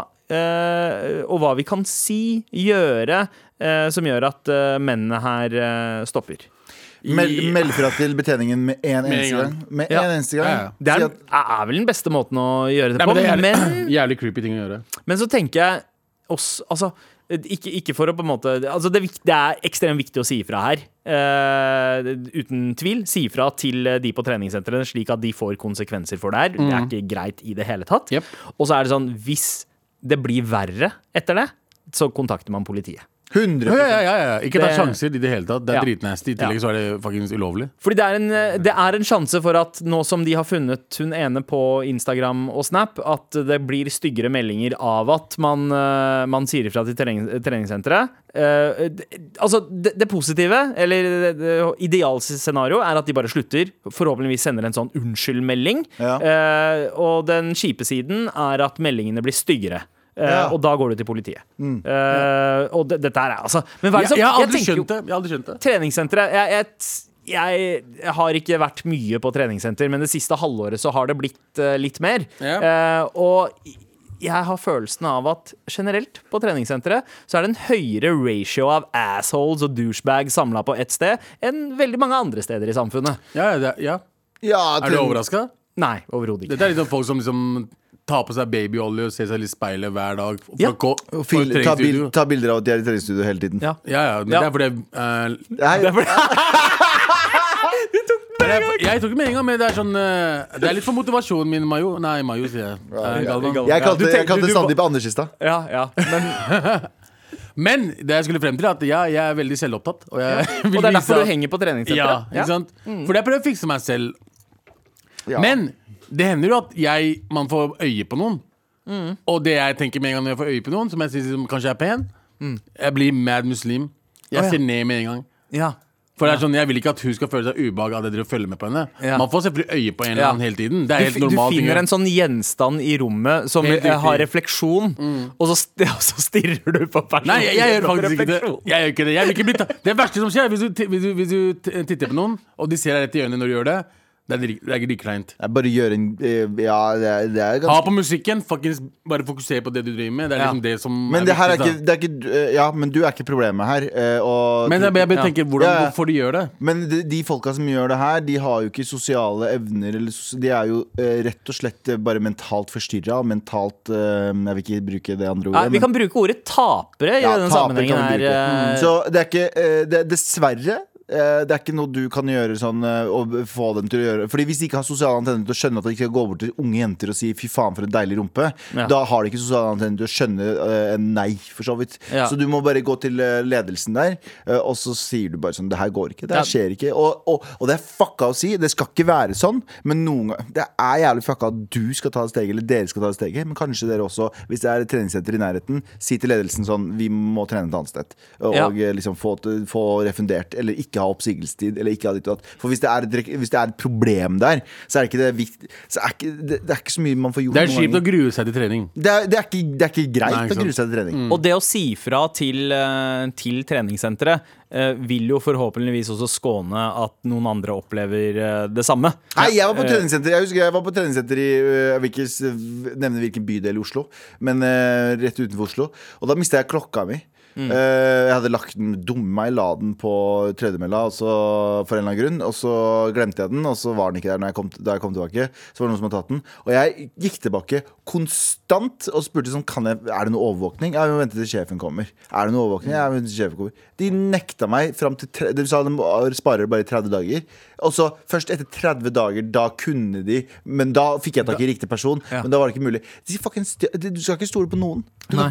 B: eh, og hva vi kan si, gjøre, eh, som gjør at eh, mennene her eh, stopper?
A: Meld, meld fra til betjeningen med en
C: en
A: eneste
C: gang.
A: gang. Med
B: Ja.
A: en eneste gang.
C: Ja, ja.
B: Det er,
A: Si at,
B: er vel den beste måten å gjøre det
C: Nei,
B: på,
C: men det er
B: men,
C: jævlig, jævlig creepy ting å gjøre.
B: Men så tenker jeg også, altså, ikke, ikke for å på en måte altså det, er vik- det er ekstremt viktig å si ifra her. Eh, uten tvil. Si ifra til eh, de på treningssentrene, slik at de får konsekvenser for det her. Det er ikke greit i det hele tatt.
C: Jep.
B: Og så er det sånn, hvis det blir verre etter det, så kontakter man politiet.
A: 100
C: Ja, ja, ja, ja. Ikke ta
B: Det-
C: sjanser i det hele tatt. Det er
B: Ja.
C: dritnasty. I tillegg så er det faktisk ulovlig.
B: Fordi det er, en, eh, det er en sjanse for at nå som de har funnet hun ene på Instagram og Snap, at det blir styggere meldinger av at man, eh, man sier ifra til trening, treningssenteret. Eh, det- altså, det, det positive, eller det- det- idealscenario, er at de bare slutter. Forhåpentligvis sender en sånn unnskyld-melding.
A: Ja.
B: Eh, og den kjipe siden er at meldingene blir styggere. Eh,
A: Ja.
B: Og da går du til politiet. Eh, og det, dette her er altså Men hva er det
C: Mm. Jeg,
B: som
C: jeg har
B: jeg
C: aldri
B: tenker jo-
C: skjønt det. Jeg har aldri skjønt det.
B: treningssenteret jeg, jeg, jeg har ikke vært mye på treningssenter, men det siste halvåret så har det blitt eh, litt mer. Eh, og jeg har følelsen av at generelt på treningssenteret så er det en høyere ratio av assholes og douchebags samla på ett sted enn veldig mange andre steder i samfunnet.
C: Ja, ja, det er- ja.
A: ja,
C: Er du
A: til-
C: overraska?
B: Nei, overhodet ikke.
C: Dette er liksom folk som liksom tar på seg babyolje og ser seg litt i speilet hver dag. For
B: Ja.
C: å gå
A: Og
C: for
A: fil- ta, bil,
C: treningsstudio.
A: ta bilder av at de er i treningsstudio hele tiden.
B: Ja.
C: Ja, ja. Men
B: Ja.
C: det er fordi eh,
A: Nei,
C: det er, Jeg tok det med en gang, men det er sånn eh, Det er litt for motivasjonen min, Mayo. Nei, Mayo, sier jeg. Eh, Galvan.
B: Galvan.
A: jeg kalte,
B: Du
A: jeg
B: tenker-
A: kalte
B: du-
A: Sandeep Anderskista.
B: Ja, ja. Men,
C: Men det jeg skulle frem til, er at jeg, jeg er veldig selvopptatt. Og, jeg vil
B: og det er
C: vise
B: derfor
C: at-
B: du henger på
C: Ja,
B: treningssenteret.
C: ikke sant? For jeg prøver å fikse meg selv.
A: Ja.
C: Men det hender jo at jeg, man får øye på noen. Og det jeg tenker med en gang når jeg får øye på noen, som jeg synes som kanskje er pen, jeg blir mad muslim. Jeg
B: Å, ja.
C: ser ned med en gang.
B: Ja.
C: For det er sånn, Jeg vil ikke at hun skal føle seg ubehag av det dere følger med på henne.
B: Ja.
C: Man får selvfølgelig øye på en eller
B: Ja.
C: annen hele tiden. Det er
B: Du,
C: helt
B: fi- du
C: normalt.
B: finner en sånn gjenstand i rommet som
C: Helt
B: eh,
C: riktig. Mm.
B: har refleksjon, og, så, st- og så stirrer du på personen.
C: Nei, jeg, jeg gjør
B: gjennom
C: faktisk ikke det.
B: refleksjon.
C: Jeg gjør ikke Det jeg vil ikke bli ta Det verste som skjer, er hvis du, ti- hvis du, hvis du t- titter på noen, og de ser deg rett i øynene når du gjør det, det er dri- det er dritkleint.
A: Jeg bare gjør en eh, Ja, det er, det er
C: Ha
A: ganske
C: på musikken, fuckings bare fokuser på det du driver med. Det er
B: Ja.
C: liksom det som
A: Men det her er ikke,
C: viktig, da.
A: det er ikke eh, Ja, men du er ikke problemet her. eh, Og
C: Men jeg, jeg, bare tenker, hvordan,
A: Ja, ja.
C: hvorfor de gjør det?
A: Men de, de folka som gjør det her, de har jo ikke sosiale evner. Eller, sos- de er jo eh, rett og slett eh, bare mentalt forstyrra. Mentalt eh, Jeg vil ikke bruke det andre
B: Nei,
A: ordet. men-
B: vi kan bruke ordet tapere i
A: Ja, taper
B: denne
A: kan
B: sammenhengen
A: vi
B: her.
A: bruke.
B: eh,
A: Mm. Så det er ikke eh, det, Dessverre. eh, Det er ikke noe du kan gjøre sånn eh, og få dem til å gjøre Fordi Hvis de ikke har sosiale antenner til å skjønne at de ikke skal gå bort til unge jenter og si 'fy faen, for en deilig rumpe',
B: Ja.
A: da har de ikke sosiale antenner til å skjønne eh, en nei, for så vidt.
B: Ja.
A: Så du må bare gå til eh, ledelsen der, eh, og så sier du bare sånn 'det her går ikke', det
B: Ja.
A: her skjer ikke. Og, og, og det er fucka å si, det skal ikke være sånn, men noen ganger Det er jævlig fucka at du skal ta det steget, eller dere skal ta det steget, men kanskje dere også, hvis det er et treningssenter i nærheten, si til ledelsen sånn 'vi må trene et annet sted', og
B: Ja.
A: eh, liksom få, få refundert, eller ikke ha oppsigelsestid, eller ikke ha ditt og datt. For hvis det, er et, rek- hvis det er et problem der, så er det ikke det vikt... Så er ikke, det, det er ikke så mye man får gjort
C: Det er
A: noen
C: kjipt å
A: ganger.
C: grue seg til trening.
A: Det er, det, er ikke, det er ikke greit
C: Nei, ikke
A: å grue seg til trening.
B: Og det å si fra til, eh, til treningssenteret eh, vil jo forhåpentligvis også skåne at noen andre opplever eh, det samme.
A: Nei, jeg var på
B: Eh,
A: treningssenter Jeg husker jeg var på treningssenter i øh, Jeg vil ikke eh, s- nevne hvilken bydel i Oslo Men øh, rett utenfor Oslo Og da mistet jeg klokka mi Eh, jeg hadde lagt den dumme meg, la den på tredemølla og så- for en eller annen grunn. Og så glemte jeg den, og så var den ikke der når jeg kom, da jeg kom tilbake. Så var det noen som hadde tatt den. Og jeg gikk tilbake konstant og spurte sånn, kan jeg, er det noe overvåkning. Ja, vi må vente til sjefen kommer. Er det noe overvåkning? Ja, vi må vente til sjefen kommer. De nekta meg fram til tre, De sa de sparer bare 30 dager. Og så først etter 30 dager, da kunne de Men da fikk jeg tak i riktig person. Men da var det ikke mulig. De, fucking stj- de- du skal ikke stole på noen.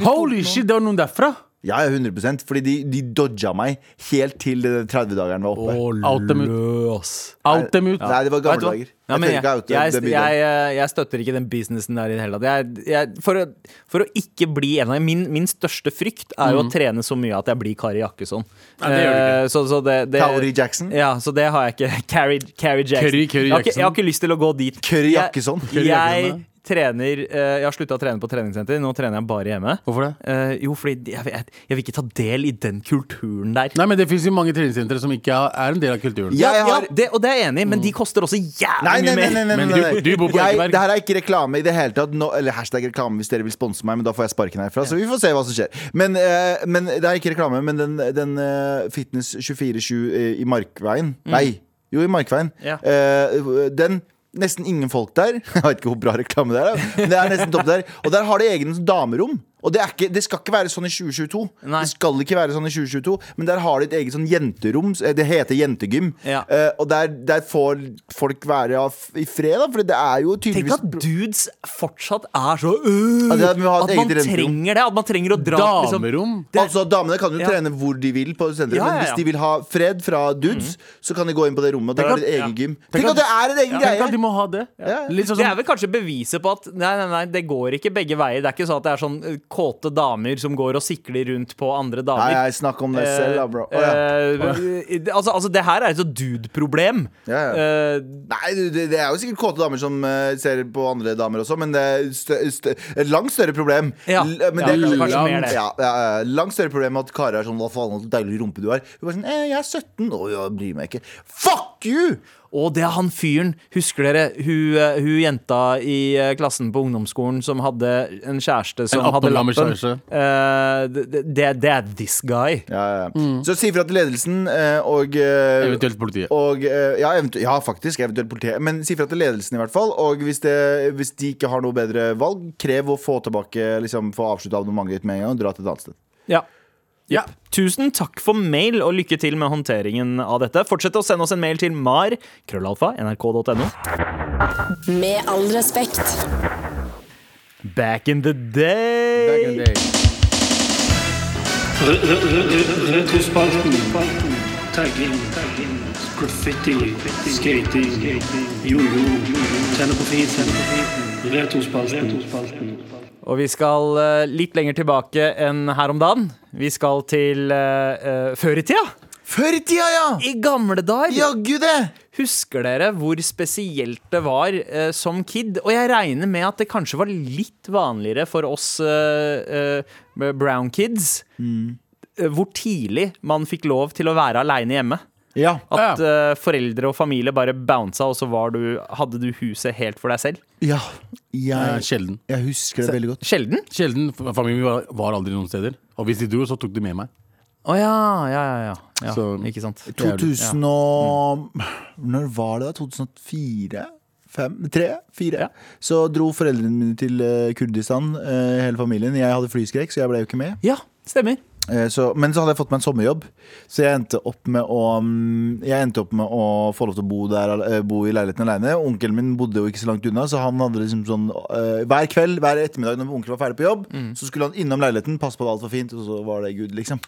C: Holy shit, det var noen derfra!
A: Ja, ja, 100 Fordi de, de dodga meg helt til det 30-dageren var oppe.
C: Out dem ut.
B: Løs.
C: Out dem ut.
A: Nei, det var
B: Vet du
A: gamle
B: hva?
A: dager.
B: Ja, men
A: jeg, tør
B: jeg,
A: ikke oute
B: jeg,
A: det
B: jeg, eh,
A: bildet.
B: jeg, støtter ikke den businessen der i det hele tatt. Jeg, jeg, for, å, for å ikke bli en av min, min største frykt er jo å trene så mye at jeg blir Kari Jakkesson.
C: Mm. det gjør du
B: Eh, så, så det, det,
A: Kauri Jackson.
B: Ja, så det har jeg ikke. Carrie, Carrie Jackson.
C: Curry,
B: Jeg,
C: Curry
B: har ikke,
C: Jackson.
B: jeg har ikke lyst til å gå dit.
A: Curry
B: Jeg-
A: Jackesson.
B: Jeg,
A: Curry
C: Jackesson,
B: trener eh, Jeg har slutta å trene på treningssenter. Nå trener jeg bare hjemme.
C: Hvorfor det?
B: Eh, jo, fordi jeg, jeg, jeg vil ikke ta del i den kulturen der.
C: Nei, men Det fins jo mange treningssentre som ikke er- er en del av kulturen.
A: Ja, jeg
B: ja,
A: har-
B: det, og det er jeg enig i,
C: Mm.
B: men de koster også jævlig
A: Nei, nei, nei,
B: mye mer.
A: nei, nei, nei,
C: Men
A: nei,
C: du- du bor på
A: jeg,
C: Ekeberg.
A: Det her er ikke reklame i det hele tatt. Nå- eller hashtag reklame hvis dere vil sponse meg, men da får jeg sparken herfra. Så vi får se hva som skjer. Men, eh, men det er ikke reklame, men den, den eh, Fitness 247 eh, i Markveien
C: Mm.
A: Nei, jo, i Markveien.
B: Ja.
A: Eh, den Nesten ingen folk der. Jeg vet ikke hvor bra reklame det er. da, Men det er nesten topp der Og der har de egne damerom. Og det, er ikke, det skal ikke være sånn i 2022.
B: Nei.
A: Det skal ikke være sånn i 2022 Men der har de et eget sånn jenterom. eh, Det heter jentegym.
B: Ja.
A: Eh, og der, der får folk være av, i fred, da, for det er jo
B: Tenk
A: tydeligvis
B: at dudes fortsatt er så øh,
A: Ja, det er at vi må ha et
B: At man
A: eget renterom.
B: trenger det. At man trenger å dra liksom-
C: Damerom?
B: det er-
A: Altså Damene kan jo
B: Ja.
A: trene hvor de vil, på senteret men
B: Ja, ja, ja. Mhm.
A: hvis de vil ha fred fra dudes, så kan de gå inn på det rommet. Og der
C: Tenk
A: har de et
C: at-
A: eget gym.
C: Tenk
A: Tenk
C: at-
A: at det er en egen
C: Tenk at de
A: greie!
C: må ha det.
A: Ja.
C: Litt sånn
B: Det
C: som
B: er vel kanskje beviset på at nei, nei, nei, det går ikke begge veier. Det er ikke sånn at det er sånn eh, kåte damer som går og sikler rundt på andre damer.
A: Nei, nei, snakk om deg selv, da, bro. Å, ja.
B: Eh, eh, altså, altså, det her er et sånt dude-problem.
A: Ja, ja.
B: Eh,
A: Nei, du, det, det er jo sikkert kåte damer som eh, ser på andre damer også, men det er stø stø et langt større problem.
B: Ja.
A: L- men
B: Ja,
A: det,
B: kanskje
A: langt,
B: mer det.
A: Ja, ja, ja. langt større problem at karer er sånn Hva faen, så deilig rumpe du har. Hun bare sånn eh, Jeg er 17. Å, jeg bryr meg ikke. Fuck you!
B: og det er han fyren, husker dere hun, eh, hun jenta i eh, klassen på ungdomsskolen som hadde en kjæreste som
C: En
B: hadde
C: 18 gammel
B: lappen?
C: kjæreste.
B: Eh, det, det, det er this guy.
A: Ja, ja. Så si fra til ledelsen eh, og eh,
C: Eventuelt politiet.
A: Og, eh, ja, eventu ja, faktisk. Eventuelt politiet. Men si fra til ledelsen, i hvert fall. Og hvis, det, hvis de ikke har noe bedre valg, krev å få tilbake Liksom få avslutta abonnementet ditt med en gang og dra til et annet sted.
B: Ja.
C: Ja.
B: Tusen takk for mail, og lykke til med håndteringen av dette. Fortsett å sende oss en mail til mar krøllalfa nrk.no.
F: Med all respekt.
B: Back in the day!
G: Retrospalten. Tagging. Graffiti. Skating. Jojo. Tenner på fisen. Retrospalten.
B: Og vi skal eh, litt lenger tilbake enn her om dagen. Vi skal til eh, eh, før i tida.
A: Før i tida, ja!
B: I gamle dager.
A: Jaggu det!
B: Husker dere hvor spesielt det var eh, som kid? Og jeg regner med at det kanskje var litt vanligere for oss eh, eh, brown kids.
A: Mm.
B: eh, Hvor tidlig man fikk lov til å være aleine hjemme.
A: Ja.
B: At
C: Ja.
B: eh, foreldre og familie bare bounsa, og så var du, hadde du huset helt for deg selv.
A: ja.
C: Eh,
A: Jeg,
C: Sjelden.
A: jeg husker det veldig godt.
B: Sjelden.
C: Sjelden. F- Familien min var, var aldri noen steder. Og hvis de dro, så tok de med meg.
B: Å ja, ja, ja. ja. ja
C: Så-
B: ikke sant.
A: 2000 og Når var det, da? 2004? 5, 3, 4
B: Ja.
A: Så dro foreldrene mine til eh, Kurdistan, eh, hele familien. Jeg hadde flyskrekk, så jeg ble jo ikke med.
B: Ja, stemmer.
A: Eh, Så, men så hadde jeg fått meg en sommerjobb, så jeg endte opp med å, mm, jeg endte opp med å få lov til å bo, der, eh, bo i leiligheten aleine. Onkelen min bodde jo ikke så langt unna, så han hadde liksom sånn eh, Hver kveld, hver ettermiddag når onkelen var ferdig på jobb,
B: Mm.
A: så skulle han innom leiligheten, passe på at alt var fint, og så var det good, liksom.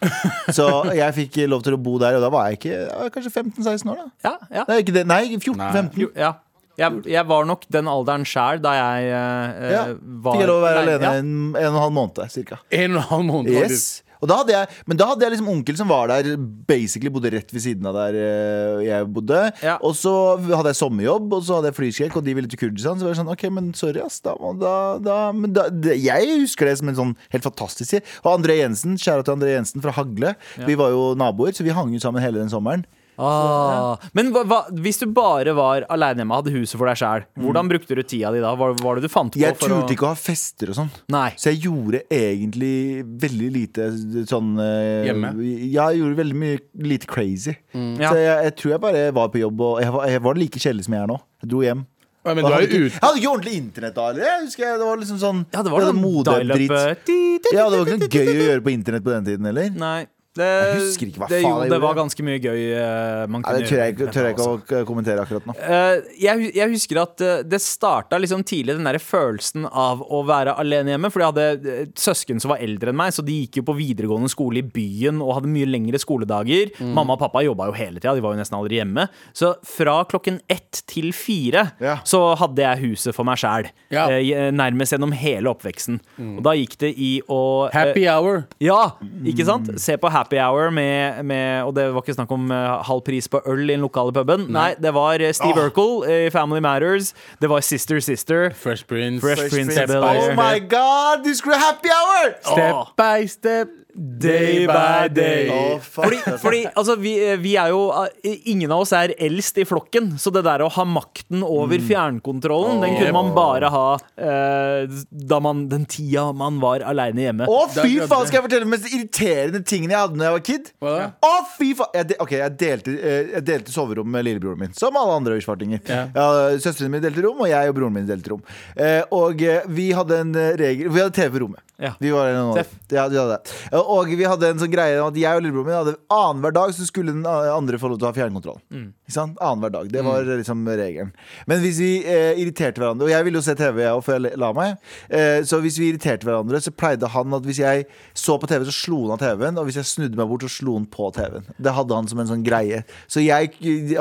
A: Så jeg fikk eh, lov til å bo der, og da var jeg ikke jeg var kanskje 15-16 år, da.
B: Ja, ja.
A: Nei, ikke det. Nei 14-15.
B: Jo, ja. Jeg, jeg var nok den alderen sjæl da jeg eh,
A: Ja.
B: var
A: Fikk jeg lov å være
B: Nei,
A: alene
B: ja.
A: en, en og en halv måned, cirka.
C: En og en halv måned. var
A: Yes. Og da hadde jeg, men da hadde jeg liksom onkel som var der, basically bodde rett ved siden av der eh, jeg bodde.
B: Ja.
A: Og så hadde jeg sommerjobb, og så hadde jeg flyskrekk, og de ville til Kurdistan. Så var det sånn, ok, men sorry, ass. Da, må- da, da, men da, det, jeg husker det som en sånn helt fantastisk tid. Og André Jensen, kjære til André Jensen fra Hagle. Vi var jo naboer, så vi hang jo sammen hele den sommeren.
B: Ah, men hva, hva, hvis du bare var aleine hjemme, hadde huset for deg sjæl, hvordan brukte du tida di da? Hva hva var det du fant på?
A: Mm. Jeg
B: for å-
A: turte ikke å ha fester og sånn.
B: Nei.
A: Så jeg gjorde egentlig veldig lite sånn eh,
C: Hjemme?
A: Ja, jeg gjorde veldig mye lite crazy.
B: Mm. Ja.
A: Så jeg, jeg tror jeg bare var på jobb, og jeg var, jeg var like kjedelig som jeg er nå. Jeg dro hjem.
C: Ja, Men
A: Og
C: du er
A: hadde
C: jo
A: ikke,
C: ute.
A: jeg hadde ikke ordentlig internett da heller. Jeg husker jeg- Det var liksom sånn
B: Ja, det var
A: jeg
B: noe
A: hadde modedritt.
B: dial-up eh,
A: Ja, det var ikke noe gøy å gjøre på internett på den tiden heller.
B: Nei. Det,
A: Jeg husker ikke hva
B: det,
A: faen
B: jo,
A: jeg
B: det
A: gjorde.
B: var ganske mye gøy eh, man
A: Nei,
B: kunne
A: det tør jeg,
B: gjøre
A: ikke- tør
B: med
A: jeg
B: dette
A: ikke å k- kommentere akkurat nå.
B: altså- Eh, jeg, hu- jeg husker at eh, det starta liksom tidlig, den der følelsen av å være alene hjemme. For jeg hadde eh, søsken som var eldre enn meg, så de gikk jo på videregående skole i byen og hadde mye lengre skoledager.
C: Mm.
B: Mamma og pappa jobba jo hele tida, de var jo nesten aldri hjemme. Så fra klokken ett til fire
A: Ja.
B: så hadde jeg huset for meg sjæl.
C: Ja.
B: eh,
C: Mm.
B: nærmest gjennom hele oppveksten. Og da gikk det i å eh,
C: Happy hour.
B: ja, ikke sant?
C: Mm.
B: Se på Happy Hour med, med Og det var ikke snakk om eh, halv pris på øl i den lokale puben. Nei, det var eh, Steve Urkel i Family Matters. Det var Sister Sister.
C: Fresh Prince.
B: Fresh Prince
C: Step
B: of
C: by
B: Bel-Air.
A: Oh
C: step.
A: my god, de skulle ha happy hour!
C: Step by step, day by day.
A: Å, fuck,
B: Fordi,
A: altså.
B: fordi altså, vi, eh, vi er jo eh, Ingen av oss er eldst i flokken, så det der å ha makten over
C: Mm.
B: fjernkontrollen, den kunne man bare ha eh, da man, den tida man var aleine hjemme.
A: Å, fy
C: Det er-
A: faen, skal jeg fortelle om de mest irriterende tingene jeg hadde Når jeg var kid?
C: Hva da?
A: Å, fy faen jeg de, Ok, jeg delte, eh, jeg delte soverom med lillebroren min Som alle andre øyesvartinger
C: Ja.
A: ja, Søsteren min delte rom, og jeg og broren min delte rom eh, Og eh, vi hadde en eh, regel Vi hadde TV på rommet
B: Ja.
A: Vi var en,
B: Seff.
A: ja, vi hadde det. Og vi hadde en sånn greie om at jeg og lillebroren min hadde annen hver dag Så skulle den eh, andre få lov til å ha fjernkontroll Ikke sant? Annen hver dag, det var eh, liksom regelen Men hvis vi eh, irriterte hverandre Og jeg ville jo se TV jeg, også før jeg la meg eh, Så hvis vi irriterte hverandre Så pleide han at hvis jeg så på TV Så slo han av TV-en Og hvis jeg snudde meg bort så slo han på TV-en Det hadde han som en sånn greie Så jeg,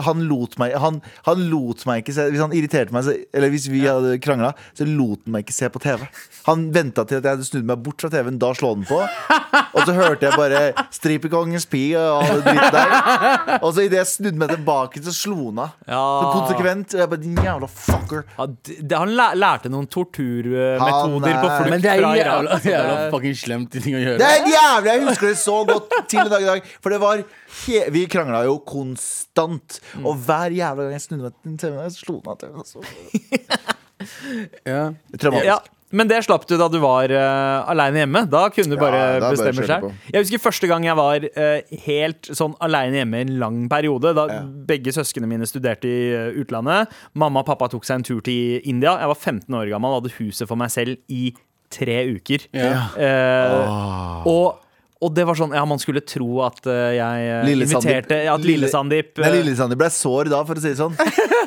A: han lot meg Han, han lot meg ikke se Hvis han irriterte meg så, Eller hvis vi hadde kranglet Så lot han meg ikke se på TV Han ventet til at jeg hadde snudd meg bort fra TV-en Da slå den på Og så hørte jeg bare Stripekongens pi og all det dritt der Og så i det jeg snudde meg tilbake Så slo han av Så
B: Ja.
A: konsekvent Og jeg bare, din jævla fucker
B: Ja, d- det, han læ- lærte noen
A: Han
B: torturmetoder på
A: er-
B: flukt
C: Men det er
B: fra Irak.
C: jævla,
B: altså, det
C: jævla
B: er-
C: fucking slemt ting å
A: Det
C: gjøre.
A: er jævlig, jeg husker det så godt til i dag i dag. For det var he Vi krangla jo konstant. Og hver jævla gang jeg snudde meg til TV-en, så slo den av TV-en. altså.
C: Ja.
A: Traumatisk.
B: Ja, men det slapp du da du var uh, aleine hjemme. Da kunne du bare
A: da bare
B: bestemme
A: kjørte
B: sjøl.
A: på.
B: Jeg husker første gang jeg var eh, helt sånn aleine hjemme i en lang periode. Da
A: Ja.
B: begge søsknene mine studerte i eh, utlandet. Mamma og pappa tok seg en tur til India. Jeg var 15 år gammel og hadde huset for meg selv i tre uker.
C: Ja.
B: Eh, og, og det var sånn Ja, man skulle tro at eh, jeg eh,
A: Lille Sandeep.
B: inviterte At Lille
A: Lille-
B: Sandeep
A: Nei,
B: eh,
A: Lille Sandeep ble sår da, for å si det sånn.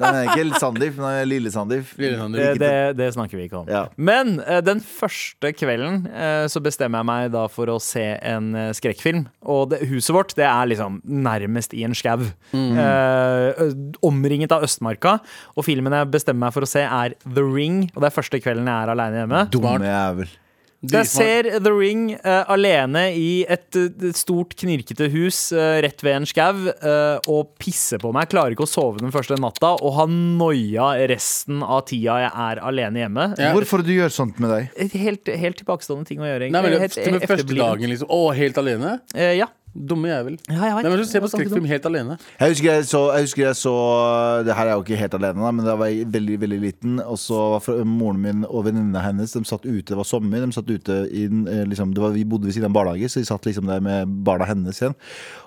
A: Nei, men ikke Sandeep, men Lille Sandeep.
C: Lille Sandeep.
B: det, eh, det, det snakker vi ikke om.
A: Ja.
B: Men eh, den første kvelden eh, så bestemmer jeg meg da for å se en eh, skrekkfilm. Og det, huset vårt det er liksom nærmest i en skau. Eh, ø- omringet av Østmarka. Og filmen jeg bestemmer meg for å se, er The Ring. Og det er første kvelden jeg er aleine hjemme.
C: Mm.
A: Dumme jævel.
B: Jeg ser The Ring eh, alene i et, eh, stort, knirkete hus eh, rett ved en skau eh, og pisser på meg. Klarer ikke å sove den første natta og har noia resten av tida jeg er alene hjemme.
C: Ja.
A: Hvorfor du gjør sånt med deg?
B: Et helt, helt tilbakestående ting å gjøre.
C: Nei, men det,
B: Helt
C: til og med første
B: efterbliven.
C: dagen, liksom. Å, helt alene?
B: Eh, ja.
C: Dumme jævel.
B: Ja, jeg vet.
C: Nei, men så Se på
B: Det var ganske
C: skrekkfilm helt alene.
A: Jeg husker jeg, så, jeg husker jeg så øh, Det her er jo ikke helt alene, da, men da var jeg veldig veldig liten. Og så var fra- moren min og venninna hennes De satt ute, det var sommer. De satt ute i, den, eh, liksom, det var, Vi bodde ved siden av en barnehage, så de satt liksom der med barna hennes igjen.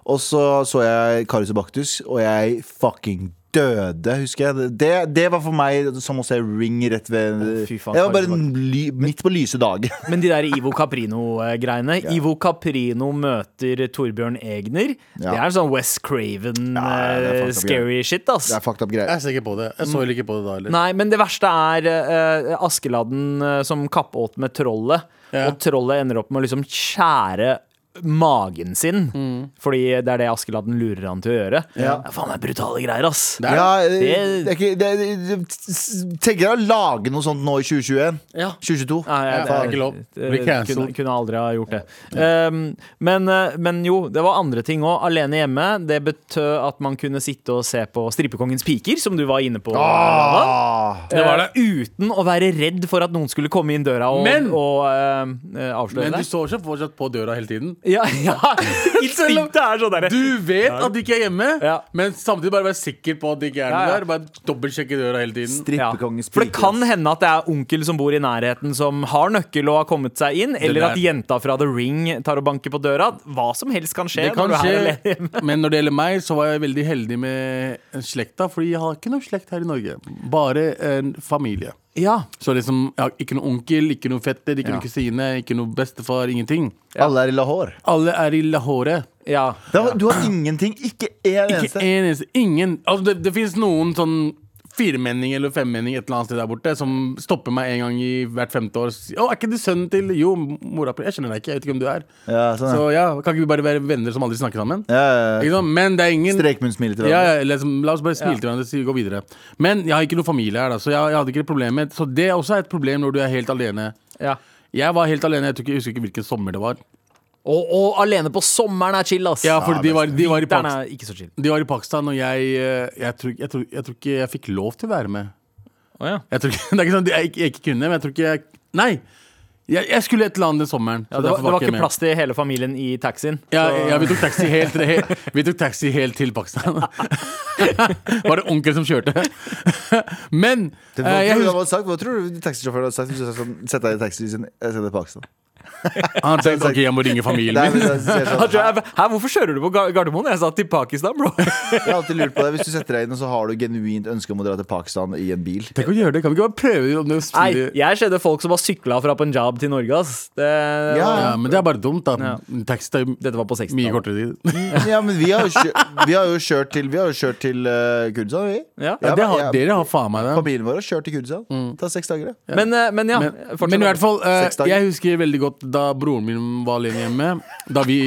A: Og så så jeg Karius og Baktus, og jeg fucking døde, husker jeg. Det, det var for meg som å se Ring rett ved
B: Å, fy faen,
A: Jeg var bare
B: Karius og
A: ly, midt på lyse dag.
B: Men de der Ivo Caprino-greiene. Ivo Caprino møter Torbjørn Egner.
A: Ja.
B: Det er sånn West Craven,
A: Ja, det er
B: eh,
A: faktisk
B: scary shit, ass.
A: Det er fucked up greier.
C: Jeg ser ikke på det. Jeg så heller ikke på det da heller.
B: Nei, men det verste er eh, Askeladden eh, som kappåt med trollet.
C: Ja.
B: Og trollet ender opp med å liksom skjære magen sin. Fordi det er det Askeladden lurer han til å gjøre.
A: Ja.
B: Det er faen meg brutale greier, ass.
C: Det er-
A: Ja, eh,
B: Det-
A: det er ikke det- det- det- Tenker dere å lage noe sånt nå i 2021?
C: Ja.
A: 2022?
B: Nei, jeg-
C: Ja, det er ikke lov. Blir
B: Eh,
C: cancelled.
B: kunne, kunne aldri ha gjort det. Um, men, eh, men jo, det var andre ting òg. Alene hjemme. Det betød at man kunne sitte og se på Stripekongens piker, som du var inne på. Rada.
A: Ah.
B: Eh, Uten å være redd for at noen skulle komme inn døra og,
C: Men-
B: og eh, eh, avsløre
C: Men du
B: deg.
C: står ikke fortsatt på døra hele tiden.
B: Ja, ja. Instinktet er sånn derre
C: Du vet at de ikke er hjemme,
B: Ja.
C: men samtidig bare være sikker på at de ikke er noe
B: Ja, ja.
C: der. Bare dobbeltsjekke døra hele tiden.
B: Ja.
A: Strippekongens
B: For det kan hende at det er onkel som bor i nærheten som har nøkkel og har kommet seg inn, eller at
C: der.
B: jenta fra The Ring tar og banker på døra. Hva som helst kan skje.
C: Det
B: når
C: kan
B: du er
C: skje,
B: alene.
C: men når det gjelder meg, så var jeg veldig heldig med slekta. Fordi jeg har ikke noe slekt her i Norge. Bare en familie.
B: Ja,
C: Så liksom, jeg har ikke noen onkel, ikke noen fetter, ikke
A: Ja.
C: noen kusine, ikke noen bestefar. Ingenting.
A: Alle er i Lahore.
C: Alle er i Lahore.
B: ja.
A: Det var- Du har ingenting. Ikke én
C: Ikke
A: eneste.
C: en eneste. Ingen. Altså, det det fins noen sånn firmenning eller femmenning et eller annet sted der borte som stopper meg en gang i hvert femte år. og sier, Å, er ikke du sønnen til Jo, mora Jeg skjønner deg ikke. Jeg vet ikke hvem du er.
A: Ja, sånn, ja.
C: Så ja, kan ikke vi bare være venner som aldri snakker sammen?
A: Ja, ja, ja.
C: Ikke sant? Men det er ingen
A: Strekmunnsmile til
C: ja,
A: hverandre.
C: ja, liksom, La oss bare smile til hverandre og gå videre. Men jeg har ikke noen familie her, da, så jeg, jeg hadde ikke det problemet. Så det er også et problem når du er helt alene.
B: ja.
C: Jeg var helt alene, jeg, tror ikke, jeg husker ikke hvilken sommer det var.
B: Og, og alene på sommeren er chill, ass.
C: Ja, for de, var, de, var i
B: Vinteren
C: Pakistan,
B: er ikke så chill.
C: de var i Pakistan, og jeg eh, Jeg tror, jeg tror, jeg tror ikke jeg fikk lov til å være med.
B: Å, ja.
C: Jeg tror ikke, det er ikke sånn at jeg, ikke- jeg ikke kunne, men jeg tror ikke jeg Nei! Jeg, jeg skulle et eller annet den sommeren. så
B: det,
C: derfor
B: var, det var
C: jeg
B: ikke
C: med.
B: plass til hele familien i taxien.
C: Ja, ja vi, tok taxi helt, he, vi tok taxi helt til Pakistan. Var det onkel som kjørte? Men
A: Det-
C: eh,
A: Hva
C: jeg
A: tror du han
C: husker
A: hadde sagt? Hva tror du taxisjåføren hadde sagt hvis du hadde sagt sånn, Sett deg i taxi sin, jeg sender deg til Pakistan?
C: Han tenkte ok, jeg må ringe familien
A: Nei,
C: min.
A: men da sier jeg sånn,
B: Han tror jeg- Hæ, hvorfor kjører du på Ga- Gardermoen? Jeg sa til Pakistan, bro.
A: Jeg har alltid lurt på det Hvis du setter deg inn, og så har du genuint ønske om å dra til Pakistan i en bil.
C: Tenk å gjøre det, Kan vi ikke bare prøve det? om det er
B: Nei,
C: stilig?
B: jeg skjedde folk som har sykla fra Punjab til Norge, ass. Det,
A: Ja,
C: Ja, men det er bare dumt, da. Taxi tar jo
B: Dette var på 60-tallet.
C: mye kortere tid.
A: Ja, men vi har jo kjørt, vi har jo kjørt til, vi har jo kjørt til eh, Kurdistan, vi.
B: Ja.
C: Ja, det har,
A: jeg-
C: dere har faen meg det.
A: Familien vår har kjørt til Kurdistan.
C: Mm.
A: Det tar seks dager, det.
B: Men, eh, men ja.
C: Men,
B: fortsett.
C: men i hvert fall, eh,
A: Seks dager.
C: jeg husker veldig godt da broren min var alene hjemme. Da vi,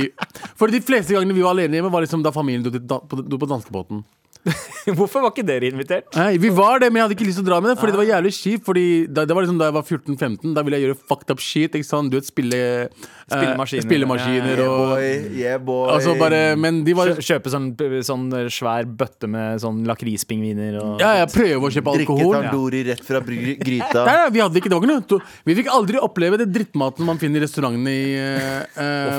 C: for de fleste gangene vi var alene hjemme, var liksom da familien dro, til, da, på, dro på danskebåten.
B: Hvorfor var ikke dere invitert?
C: Nei, vi var det, men jeg hadde ikke lyst til å dra med det, fordi det var jævlig kjipt. Fordi da, det var liksom da jeg var 14-15, da ville jeg gjøre fucked up shit. Ikke sant? Du vet, spille, eh,
B: Spillemaskiner.
C: spillemaskiner
A: Yeah,
C: og
A: boy. Yeah, boy.
C: Altså bare Men de var
B: Kjø- Kjøpe sånn, sånn svær bøtte med sånn lakrispingviner og
C: Ja, jeg prøver å kjøpe
A: Drikke
C: alkohol.
A: tandoori rett fra bry- gryta.
C: Nei, nei, vi hadde ikke, det var ikke noe to- Vi fikk aldri oppleve det drittmaten man finner i restaurantene i eh, eh,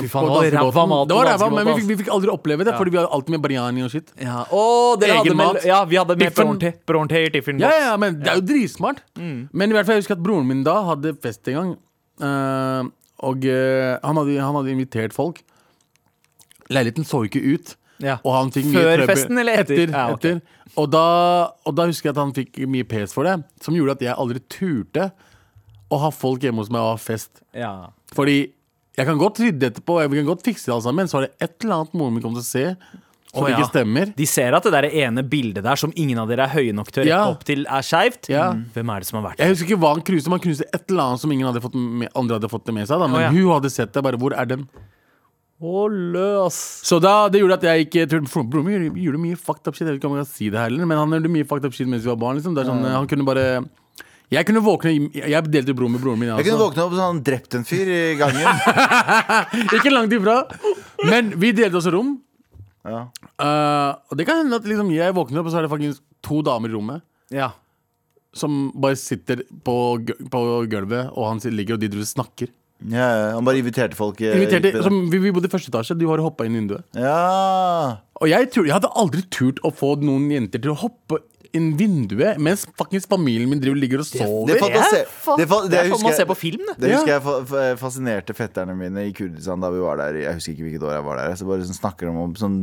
B: Å, fy
C: på
B: faen, det var ræva
C: danskebåten.
B: mat
C: Det var
B: på
C: ræva, men vi
B: danskebåten,
C: fikk, vi fikk aldri oppleve det, fordi vi hadde alltid med barjani og shit.
B: Ja. Å, dere hadde
C: Egen
B: med,
C: mat.
B: ja, vi hadde med
C: Biffen.
B: Bronte Bronte i Tiffin
C: Ja,
B: Box.
C: ja, ja, men det er jo dritsmart.
B: Mm.
C: Men i hvert fall, jeg husker at broren min da hadde fest en gang. Eh, og eh, han, hadde, han hadde invitert folk. Leiligheten så ikke ut.
B: Ja.
C: Og han fikk mye
B: Før
C: trøbbel.
B: festen eller etter?
C: Etter,
B: Ja, ok.
C: etter. Og, da, og da husker jeg at han fikk mye pes for det, som gjorde at jeg aldri turte å ha folk hjemme hos meg og ha fest.
B: Ja.
C: Fordi jeg kan godt rydde etterpå, jeg kan godt fikse det alt sammen, men så er det et eller annet moren min kommer til å se som
B: Å, ja.
C: ikke stemmer.
B: De ser at det der ene bildet der som ingen av dere er høye nok til å rekke
C: Ja.
B: opp til, er skeivt. Mm.
C: Ja.
B: Hvem er det som har vært der?
C: Jeg husker ikke hva han knuste, men han knuste et eller annet som ingen hadde fått med, andre hadde fått det med seg. Da. Men
B: Å, ja.
C: hun hadde sett det. bare, hvor er den?
B: Å, løs!
C: Så da, det gjorde at jeg ikke turte for- Broren min gjorde, gjorde mye fucked up shit. Jeg vet ikke om jeg kan si det heller, men han gjorde mye fucked up shit mens vi var barn. Liksom. Det er sånn, Han kunne bare Jeg kunne våkne i- Jeg delte rom med broren min. altså.
A: Jeg
B: Altså-
A: kunne våkne opp og sånn drept en fyr i gangen.
C: Ikke langt ifra. Men vi delte også rom.
A: Ja.
C: Eh, og det kan hende at liksom, jeg våkner opp, og så er det faktisk to damer i rommet.
B: Ja.
C: Som bare sitter på, gø- på gulvet, og han ligger, og de driver og snakker.
A: Ja, ja, han bare inviterte folk. eh,
C: Inviterte,
A: hit.
C: som, vi, vi bodde i første etasje, du har hoppa inn i vinduet.
A: Ja.
C: Og jeg, tror, jeg hadde aldri turt å få noen jenter til å hoppe inn vinduet mens fuckings familien min driver og ligger og sover.
A: Det, fantase-
B: fa-
A: det, fa- det,
B: det er sånn
A: husker
B: man ser
A: jeg,
B: på film, det.
A: det husker jeg fa- fa- fascinerte fetterne mine i Kurdistan da vi var der. Jeg husker ikke hvilket år jeg var der. Så bare sånn snakker de om sånn,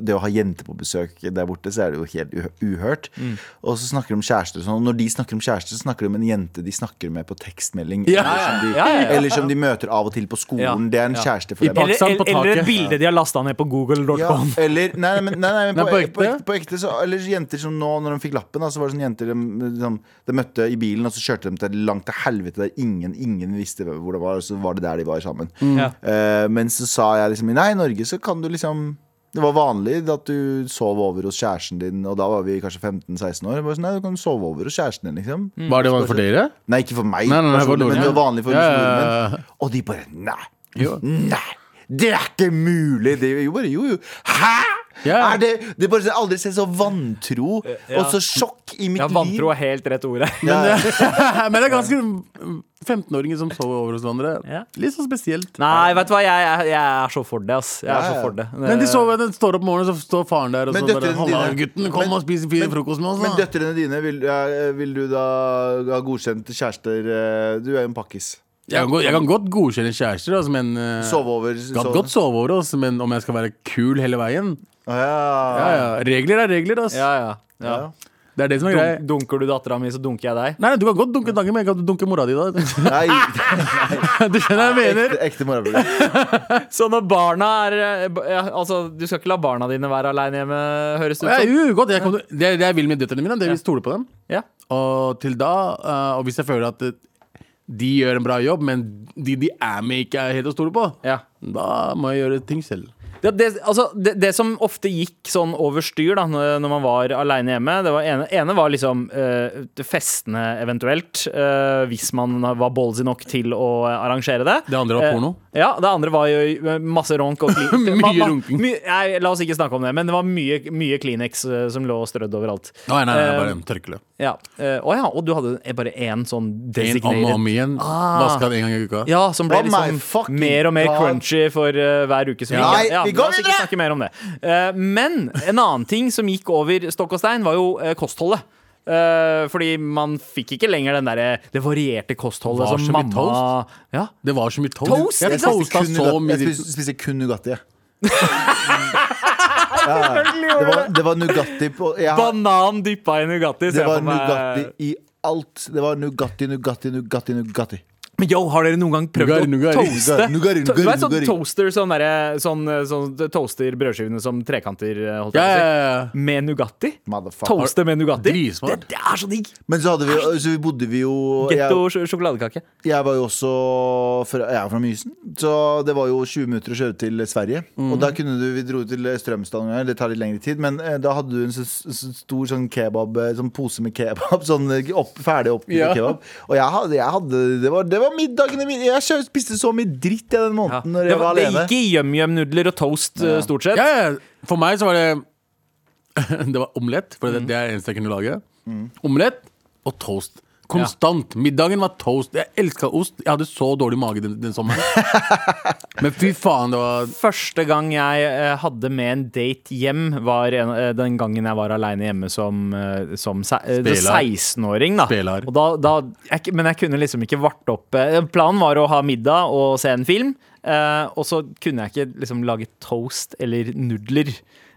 A: Det å ha jenter på besøk der borte, så er det jo helt uh- uhørt.
B: Mm.
A: Og så snakker de om kjærester og sånn. Og når de snakker om kjærester, så snakker de om en jente de snakker med på tekstmelding. Eller, som de,
B: Ja, ja, ja.
A: eller som de møter av og til på skolen.
B: Ja,
A: Det er en
B: ja.
A: kjæreste for dem.
B: Eller,
C: Pakistan på
B: eller, eller
C: taket.
B: et bilde de har lasta ned på google.com.
A: Ja, eller Nei, nei, men, nei, nei, men
C: Nei,
A: på,
C: på
A: ek- på,
C: ekte?
A: ekte, på ekte så, Eller jenter som nå, når de fikk lappen, da, så var det sånne jenter de, liksom, de møtte i bilen, og så kjørte de til langt til helvete der ingen, ingen visste hvor det var, og så var det der de var sammen.
B: Ja.
A: Eh, men så sa jeg liksom Nei, i Norge så kan du liksom det var vanlig at du sov over hos kjæresten din, og da var vi kanskje 15-16 år. Jeg Bare sånn, nei, du kan sove over hos kjæresten din, liksom.
C: Var det for dere?
A: Nei, ikke for meg,
C: Nei, nei, nei, for
A: personlig, men det
C: nordmenn.
A: var vanlig for
C: Ja, ja, ja, ja.
A: nordmenn. Og de bare nei. Nei! Det er ikke mulig! Det, jo, bare, jo, jo. Hæ?!
C: Ja.
A: Er det, det er bare, jeg har aldri sett så vantro og så sjokk i mitt
B: Ja, vantro
A: liv.
B: er helt rett ord her.
A: Ja.
C: Men det er ganske 15-åringer som sover over hos hverandre.
B: Ja.
C: Litt sånn spesielt.
B: Nei, vet du hva, jeg, er- jeg er så for det, ass. Jeg er
A: Ja,
B: så
A: ja.
B: for det.
C: Men de sover, den står opp om morgenen, så står faren der og
A: Men
C: så bare
A: døtrene
C: 'Halla,
A: dine-
C: gutten, kom
A: men-
C: og spis fin
A: men-
C: frokost med oss',
A: Men
C: da.
A: døtrene dine, vil, ja, vil du da ha godkjent kjærester eh, Du er jo en pakkis.
C: Jeg kan, godt, jeg kan godt godkjenne kjærester, altså, men eh,
A: Sove over.
C: Kan
A: sove-
C: godt sove over oss, men om jeg skal være kul hele veien
A: Å, ja.
C: ja, ja. Regler er regler, ass.
B: Ja, ja, ja.
A: Ja.
C: Det er det som er greia.
B: Dun, dunker du dattera mi, så dunker jeg deg.
C: Nei, nei, Du kan godt dunke tanken, men jeg kan dunke mora di da. du
A: Nei,
C: skjønner hva jeg mener.
A: ekte, ekte morapuler.
B: Så når barna er eh, ba- ja, Altså, du skal ikke la barna dine være aleine hjemme, høres det ut
C: Ja,
B: som.
C: jo, godt. Jeg kan, det, det jeg vil med døtrene mine, det er vi stoler på dem.
B: Ja.
C: Og til da, eh, og hvis jeg føler at eh, de gjør en bra jobb, men de de er med, ikke er helt å stole på,
B: Ja.
C: da må jeg gjøre ting selv.
B: Det, det, altså, det, det som ofte gikk sånn over styr da når, når man var aleine hjemme Det var ene, ene var liksom eh, festene eventuelt, eh, hvis man var ballsy nok til å eh, arrangere det.
C: Det andre var
B: Eh,
C: porno.
B: Ja, det andre var jo eh, masse ronk og kli-
C: Mye
B: ma- ma-
C: runking.
B: my- nei, la oss ikke snakke om det, men det var mye, mye Kleenex eh, som lå strødd overalt.
C: Nei, nei, nei
B: Eh,
C: bare en tørkle.
B: Ja. Eh, Å ja, og du hadde bare én sånn
C: En om og
B: designated
C: om igjen.
B: Ah.
C: Vaska den en gang i uka.
B: ja, som ble
A: Oh my
B: liksom
A: fucking
B: mer og mer
A: God.
B: crunchy for eh, hver uke som
C: Ja.
B: gikk.
A: Nei, vi går
B: la oss ikke
A: videre!
B: snakke mer om det. Eh, men en annen ting som gikk over stokk og stein, var jo eh, kostholdet. Eh, fordi man fikk ikke lenger den derre det varierte kostholdet
C: Var
B: som
C: så mye
B: mamma
C: toast?
B: Ja.
C: Det var så mye toast.
B: Toast,
C: jeg
B: ikke sant?
C: toasta
A: Kun
C: så
A: nougat-
C: mye
A: Jeg spiste- spiste kun Nugatti. jeg. Ja. Det var, det var Nugatti på jeg, har-
B: Banan dyppa i Nugatti. ser
A: Det
B: jeg
A: var
B: på meg.
A: Nugatti i alt. Det var Nugatti, Nugatti, Nugatti. Nugatti
B: Men yo, har dere noen gang prøvd
C: Nugari, nugari,
B: å toaste?
A: nugari, nugari,
B: To- du vet sånn
A: nugari.
B: toaster, sånn derre- sånn, eh, sånn toaster brødskivene som trekanter, eh, holdt
C: Ja,
B: jeg på å si.
C: ja, ja.
B: Med Nugatti?
A: Motherfucker.
B: Toaste med Nugatti?
C: Dritsmart.
B: Det, det er så digg!
A: Men så hadde vi, så vi bodde vi jo jeg,
B: Getto sj- sjokoladekake.
A: jeg var jo også fra, Jeg er fra Mysen, så det var jo 20 minutter å kjøre til Sverige. Og
C: Mhm.
A: da kunne du Vi dro til Strømstad noen ganger, det tar litt lengre tid, men eh, da hadde du en så, så stor sånn kebab eh, Sånn pose med kebab, sånn eh, opp, ferdig oppgitt
C: Ja.
A: kebab. Og jeg hadde, jeg hadde det, var, det var middagene mine. Jeg kjø- spiste så mye dritt jeg den
B: Ja.
A: måneden når
B: Det,
A: jeg
B: var,
A: var
B: det
A: alene.
B: gikk i yum-yum-nudler og toast, eh, stort sett.
C: Ja, ja. For meg så var det Det var omelett, for
B: Mm.
C: det, det er det eneste jeg kunne lage. Omelett og toast. Konstant. Middagen var toast. Jeg elska ost. Jeg hadde så dårlig mage den, den sommeren. Men fy faen, det var
B: Første gang jeg eh, hadde med en date hjem, var en, eh, den gangen jeg var aleine hjemme som, eh, som se, eh,
C: Spelar.
B: 16-åring. da.
C: Spelar.
B: Og da, da jeg, k- men jeg kunne liksom ikke varte opp eh, Planen var å ha middag og se en film. eh, og så kunne jeg ikke liksom lage toast eller nudler.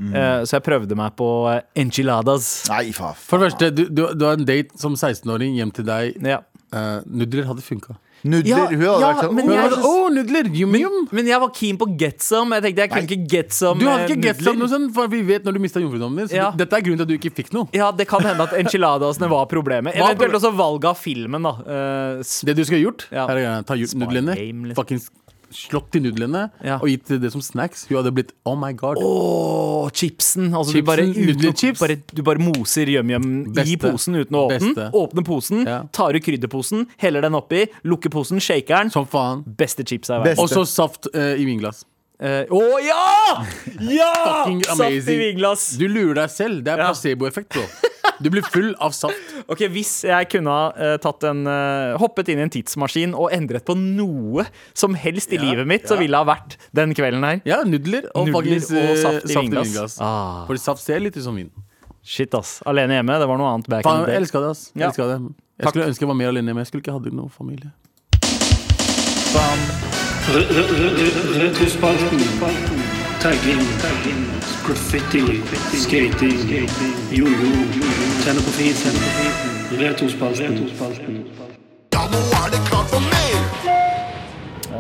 B: Eh, så jeg prøvde meg på eh, enchiladas.
A: Nei, faen.
C: For det første, du, du, du har en date som 16-åring hjem til deg.
B: Ja.
C: Eh, nudler hadde funka.
A: Nudler.
B: Ja,
A: hun hadde
B: ja,
A: vært sånn
B: men
A: «Åh,
B: jeg-
A: hva er det-
C: oh, nudler! Yum, yum!
B: Men jeg var keen på get some. Jeg tenkte jeg kunne ikke get some
C: Du hadde
B: eh,
C: ikke gett
B: nudler.
C: sånn noe sånt, for vi vet når du mista jomfrudommen din. Så
B: Ja.
C: dette er grunnen til at du ikke fikk noe.
B: Ja, det kan hende at enchiladasene var problemet.
C: Var
B: Eventuelt
C: problemet.
B: også valget av filmen, da. Eh, s-
C: Det du skulle gjort,
B: Ja.
C: er å gjerne ta ju-
B: Spy
C: nudlene,
B: game, liksom.
C: fuckings slått i nudlene,
B: Ja.
C: og gitt det som snacks. Hun hadde blitt oh my god.
B: Åh, chipsen. Altså,
C: Chipsen,
B: du, bare, uten, å-
C: nudelchips.
B: bare, du bare moser yum-yum i
C: Beste.
B: posen uten å åpne den.
C: Beste.
B: Åpner posen,
C: Ja.
B: tar ut krydderposen, heller den oppi, lukker posen, shaker den.
C: Som faen.
B: Beste chipsa i
A: Best.
B: verden.
C: Og så saft eh, i vinglass.
B: Eh, Å ja! Ja!
C: Fucking
B: Saft i
C: amazing.
B: vinglass.
C: Du lurer deg selv. Det er
B: Ja.
C: placeboeffekt, bro. Du blir full av saft.
B: Ok, Hvis jeg kunne ha eh, tatt en, eh, hoppet inn i en tidsmaskin og endret på noe som helst i livet mitt, så ville det ha vært den kvelden her.
C: Ja, nudler og,
B: Nudler
C: fuckings,
B: og
C: eh,
B: saft i vinglass. Ah.
C: For Fordi saft ser litt ut som vin.
B: Shit, ass. Alene hjemme, det var noe annet back in
C: Faen,
B: the
C: jeg
B: day.
C: elska det, ass. Jeg
B: Ja.
C: elsker det. Jeg
B: Takk.
C: skulle ønske jeg var mer alene, men jeg skulle ikke hatt noe familie.
G: Retrospalten. Tagging. Graffiti. Skating. Jojo. Tenne på fisen. Retrospalten.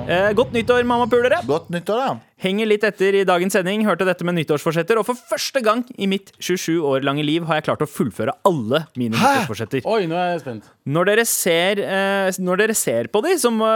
B: Eh, godt nyttår, mammapulere.
A: Godt nyttår, da.
B: Henger litt etter i dagens sending, hørte dette med nyttårsforsetter, og for første gang i mitt 27 år lange liv har jeg klart å fullføre alle mine nyttårsforsetter.
C: Oi, nå er jeg spent.
B: Når dere ser, eh, når dere ser på de, så må,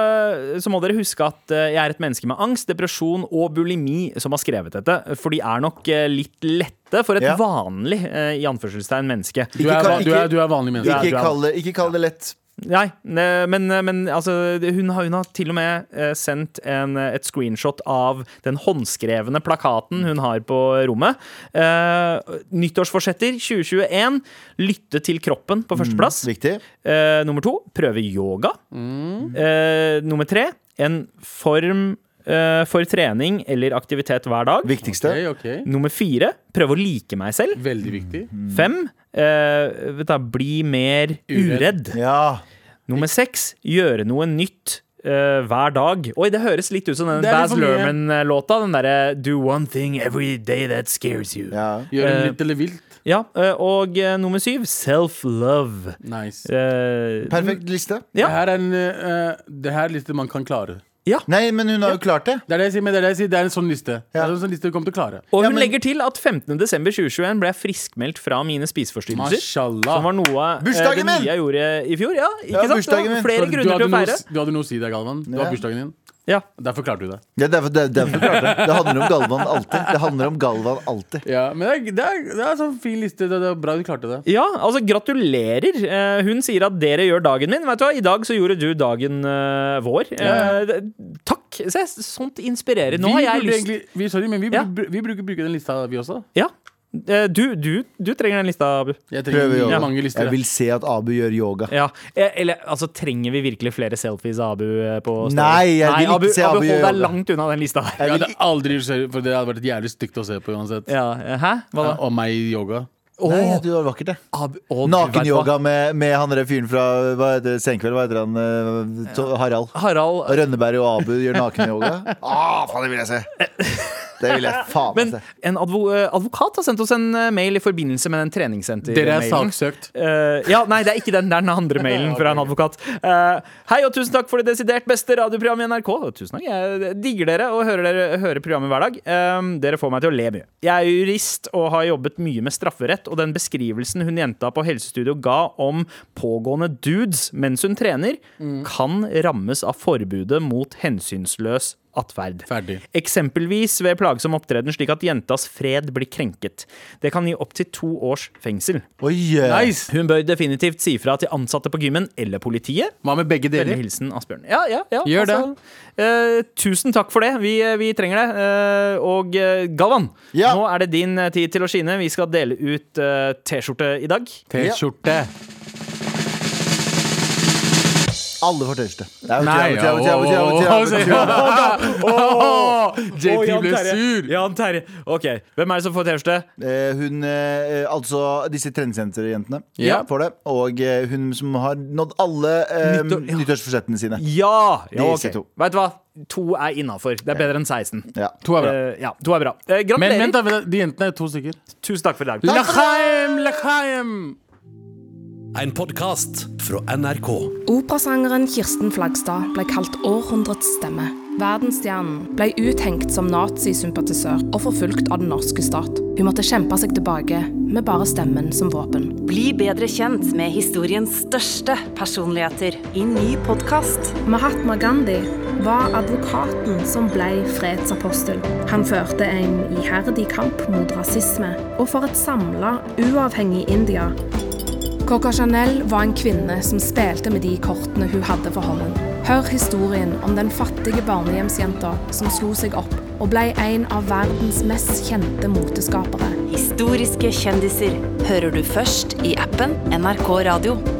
B: så må dere huske at eh, jeg er et menneske med angst, depresjon og bulimi som har skrevet dette, for de er nok eh, litt lette for et
A: Ja.
B: vanlig eh, i anførselstegn menneske.
C: Du
A: Ikke
C: er,
A: kall-
C: va- du er,
A: ikke-
C: du er vanlig menneske.
A: Ikke
C: Du er-
A: kall det, ikke kall det lett.
B: Nei, ne- men, men altså, det- hun, har, hun har til og med eh, sendt en, eh, et screenshot av den håndskrevne plakaten hun har på rommet. Eh, nyttårsforsetter 2021. Lytte til kroppen på førsteplass.
A: Viktig.
B: Eh, nummer to prøve yoga. Eh, nummer tre en form eh, for trening eller aktivitet hver dag.
A: Viktigste.
C: Ok, ok.
B: Nummer fire prøve å like meg selv.
C: Veldig viktig.
B: Fem eh, vet du, bli mer uredd.
A: Ja.
B: Nummer seks, gjøre noe nytt eh, hver dag. Oi, det høres litt ut som den
C: Det er litt
B: Baz
C: for mye.
B: Lerman-låta. Den derre Do one thing every day that scares you. Ja,
A: ja.
C: Gjøre
B: Eh,
C: litt eller vilt.
B: eh, Og eh, nummer syv, self-love.
C: Nice.
B: Eh,
A: Perfekt liste.
B: ja.
C: Det her er en eh, Det her er en liste man kan klare.
A: Nei, men hun har jo klart det.
C: Det er det jeg sier, men det er det jeg sier, det er en sånn liste. Det
A: Ja.
C: er en sånn liste du kommer til å klare.
B: Og
A: Ja,
B: hun
A: men-
B: legger til at 15.12.2021 ble jeg friskmeldt fra mine spiseforstyrrelser. Som
C: Mashallah.
B: var noe eh,
A: Bursdagen
B: det
A: min!
B: nye jeg gjorde i fjor. Ja, ikke
A: Ja,
B: sant?
A: bursdagen
B: Det var
A: min.
B: flere
C: Så du,
B: grunner
C: hadde
B: til å
C: noe,
B: feire.
C: du hadde noe å si der, Galvan. Det var
A: Ja.
C: bursdagen din.
B: Ja.
C: Derfor klarte du det.
A: Ja, derfor, det er derfor klarte det. Det handler om Galvan alltid. Det handler om Galvan alltid.
C: Ja, men det er, det er, det er en sånn fin liste. Det det er bra du klarte det.
B: Ja, altså gratulerer. Eh, hun sier at dere gjør dagen min. Vet du hva, I dag så gjorde du dagen eh, vår. Eh, det- takk. Se, sånt inspirerer. Eh, Nå
C: vi
B: har jeg
C: burde
B: lyst
C: egentlig- vi, Sorry, men vi,
B: Ja.
C: bru- vi bruker bruke den lista, vi også.
B: Ja. Eh, du, du, du trenger den lista, Abu.
C: Jeg
A: Prøver
C: trenger
A: yoga.
C: mange lister.
A: Jeg vil se at Abu gjør yoga.
B: Ja. Eh, eller altså, trenger vi virkelig flere selfies av Abu eh, på story?
A: Nei, jeg vil ikke
B: Abu,
A: se
B: Abu,
A: Abu
B: hold
A: gjøre
B: deg
A: det.
B: langt unna den lista der.
C: Jeg hadde aldri skjønt- For det hadde vært jævlig stygt å se på uansett.
B: Ja, eh, Hæ? Hva da?
C: Og meg i yoga.
A: Nei,
B: Åh,
A: du var vakkert, det.
B: Abu, å, du vet hva.
A: Nakenyoga med, med han der fyren fra hva heter det, Senkveld. Hva heter han? eh, To- Harald.
B: Harald,
A: Rønneberg og Abu gjør nakenyoga. Ah, faen, det vil jeg se! Det vil jeg faen meg
B: Men
A: se.
B: en advo eh, advokat har sendt oss en eh, mail i forbindelse med den treningssenter
C: Dere er saksøkt.
B: Eh, ja, nei, det er ikke den. Det er den andre mailen fra en advokat. Eh, hei og tusen takk for det desidert beste radioprogrammet i NRK. Og Tusen takk, Jeg digger dere og hører, dere, hører programmet hver dag. Eh, dere får meg til å le mye. Jeg er jurist og har jobbet mye med strafferett, og den beskrivelsen hun jenta på helsestudio ga om pågående dudes mens hun trener, kan rammes av forbudet mot hensynsløs atferd.
C: Ferdig.
B: Eksempelvis ved plagsom opptreden slik at jentas fred blir krenket. Det kan gi opptil to års fengsel.
A: Oi, eh,
C: Nice!
B: Hun bør definitivt si fra til ansatte på gymmen eller politiet.
C: Hva med begge
B: Vennlig
C: deler?
B: hilsen Asbjørn. Ja, ja, ja.
C: Gjør
B: eh, tusen takk for det. Vi, vi trenger det. Eh, og eh, Galvan,
A: Ja.
B: nå er det din eh, tid til å skine. Vi skal dele ut eh, T-skjorte i dag.
C: T-skjorte.
A: alle får tørste. Nei,
C: Nei,
A: ja, ja, ja, ja, ja, ja, ja, ja.
C: JT ble sur.
B: Jan Terje. Ok, Hvem er det som får T-skjorte?
A: Eh, Hun, eh, altså disse treningssenterjentene
C: Ja.
A: får det. Og eh, hun som har nådd alle eh,
B: Nyttår- ja.
A: nyttårsforsettene sine.
B: Ja! ja
A: Disse to.
B: Vet du hva? To er innafor. Det er bedre enn 16.
A: Ja.
C: To er bra.
B: Eh, ja, to er bra. Eh,
C: Men
B: gratulerer.
C: vent, da. vent da, De jentene er to stykker.
B: Tusen takk for i dag.
C: Lachaim, Lachaim!
H: En podkast fra NRK.
I: Operasangeren Kirsten Flagstad ble kalt århundrets stemme. Verdensstjernen ble uthengt som nazisympatisør og forfulgt av den norske stat. Hun måtte kjempe seg tilbake med bare stemmen som våpen.
E: Bli bedre kjent med historiens største personligheter i ny podkast.
I: Mahatma Gandhi var advokaten som ble fredsapostel. Han førte en iherdig kamp mot rasisme og for et samla, uavhengig India. Coca Chanel var en kvinne som spilte med de kortene hun hadde for hånden. Hør historien om den fattige barnehjemsjenta som slo seg opp og ble en av verdens mest kjente moteskapere.
E: Historiske kjendiser hører du først i appen NRK Radio.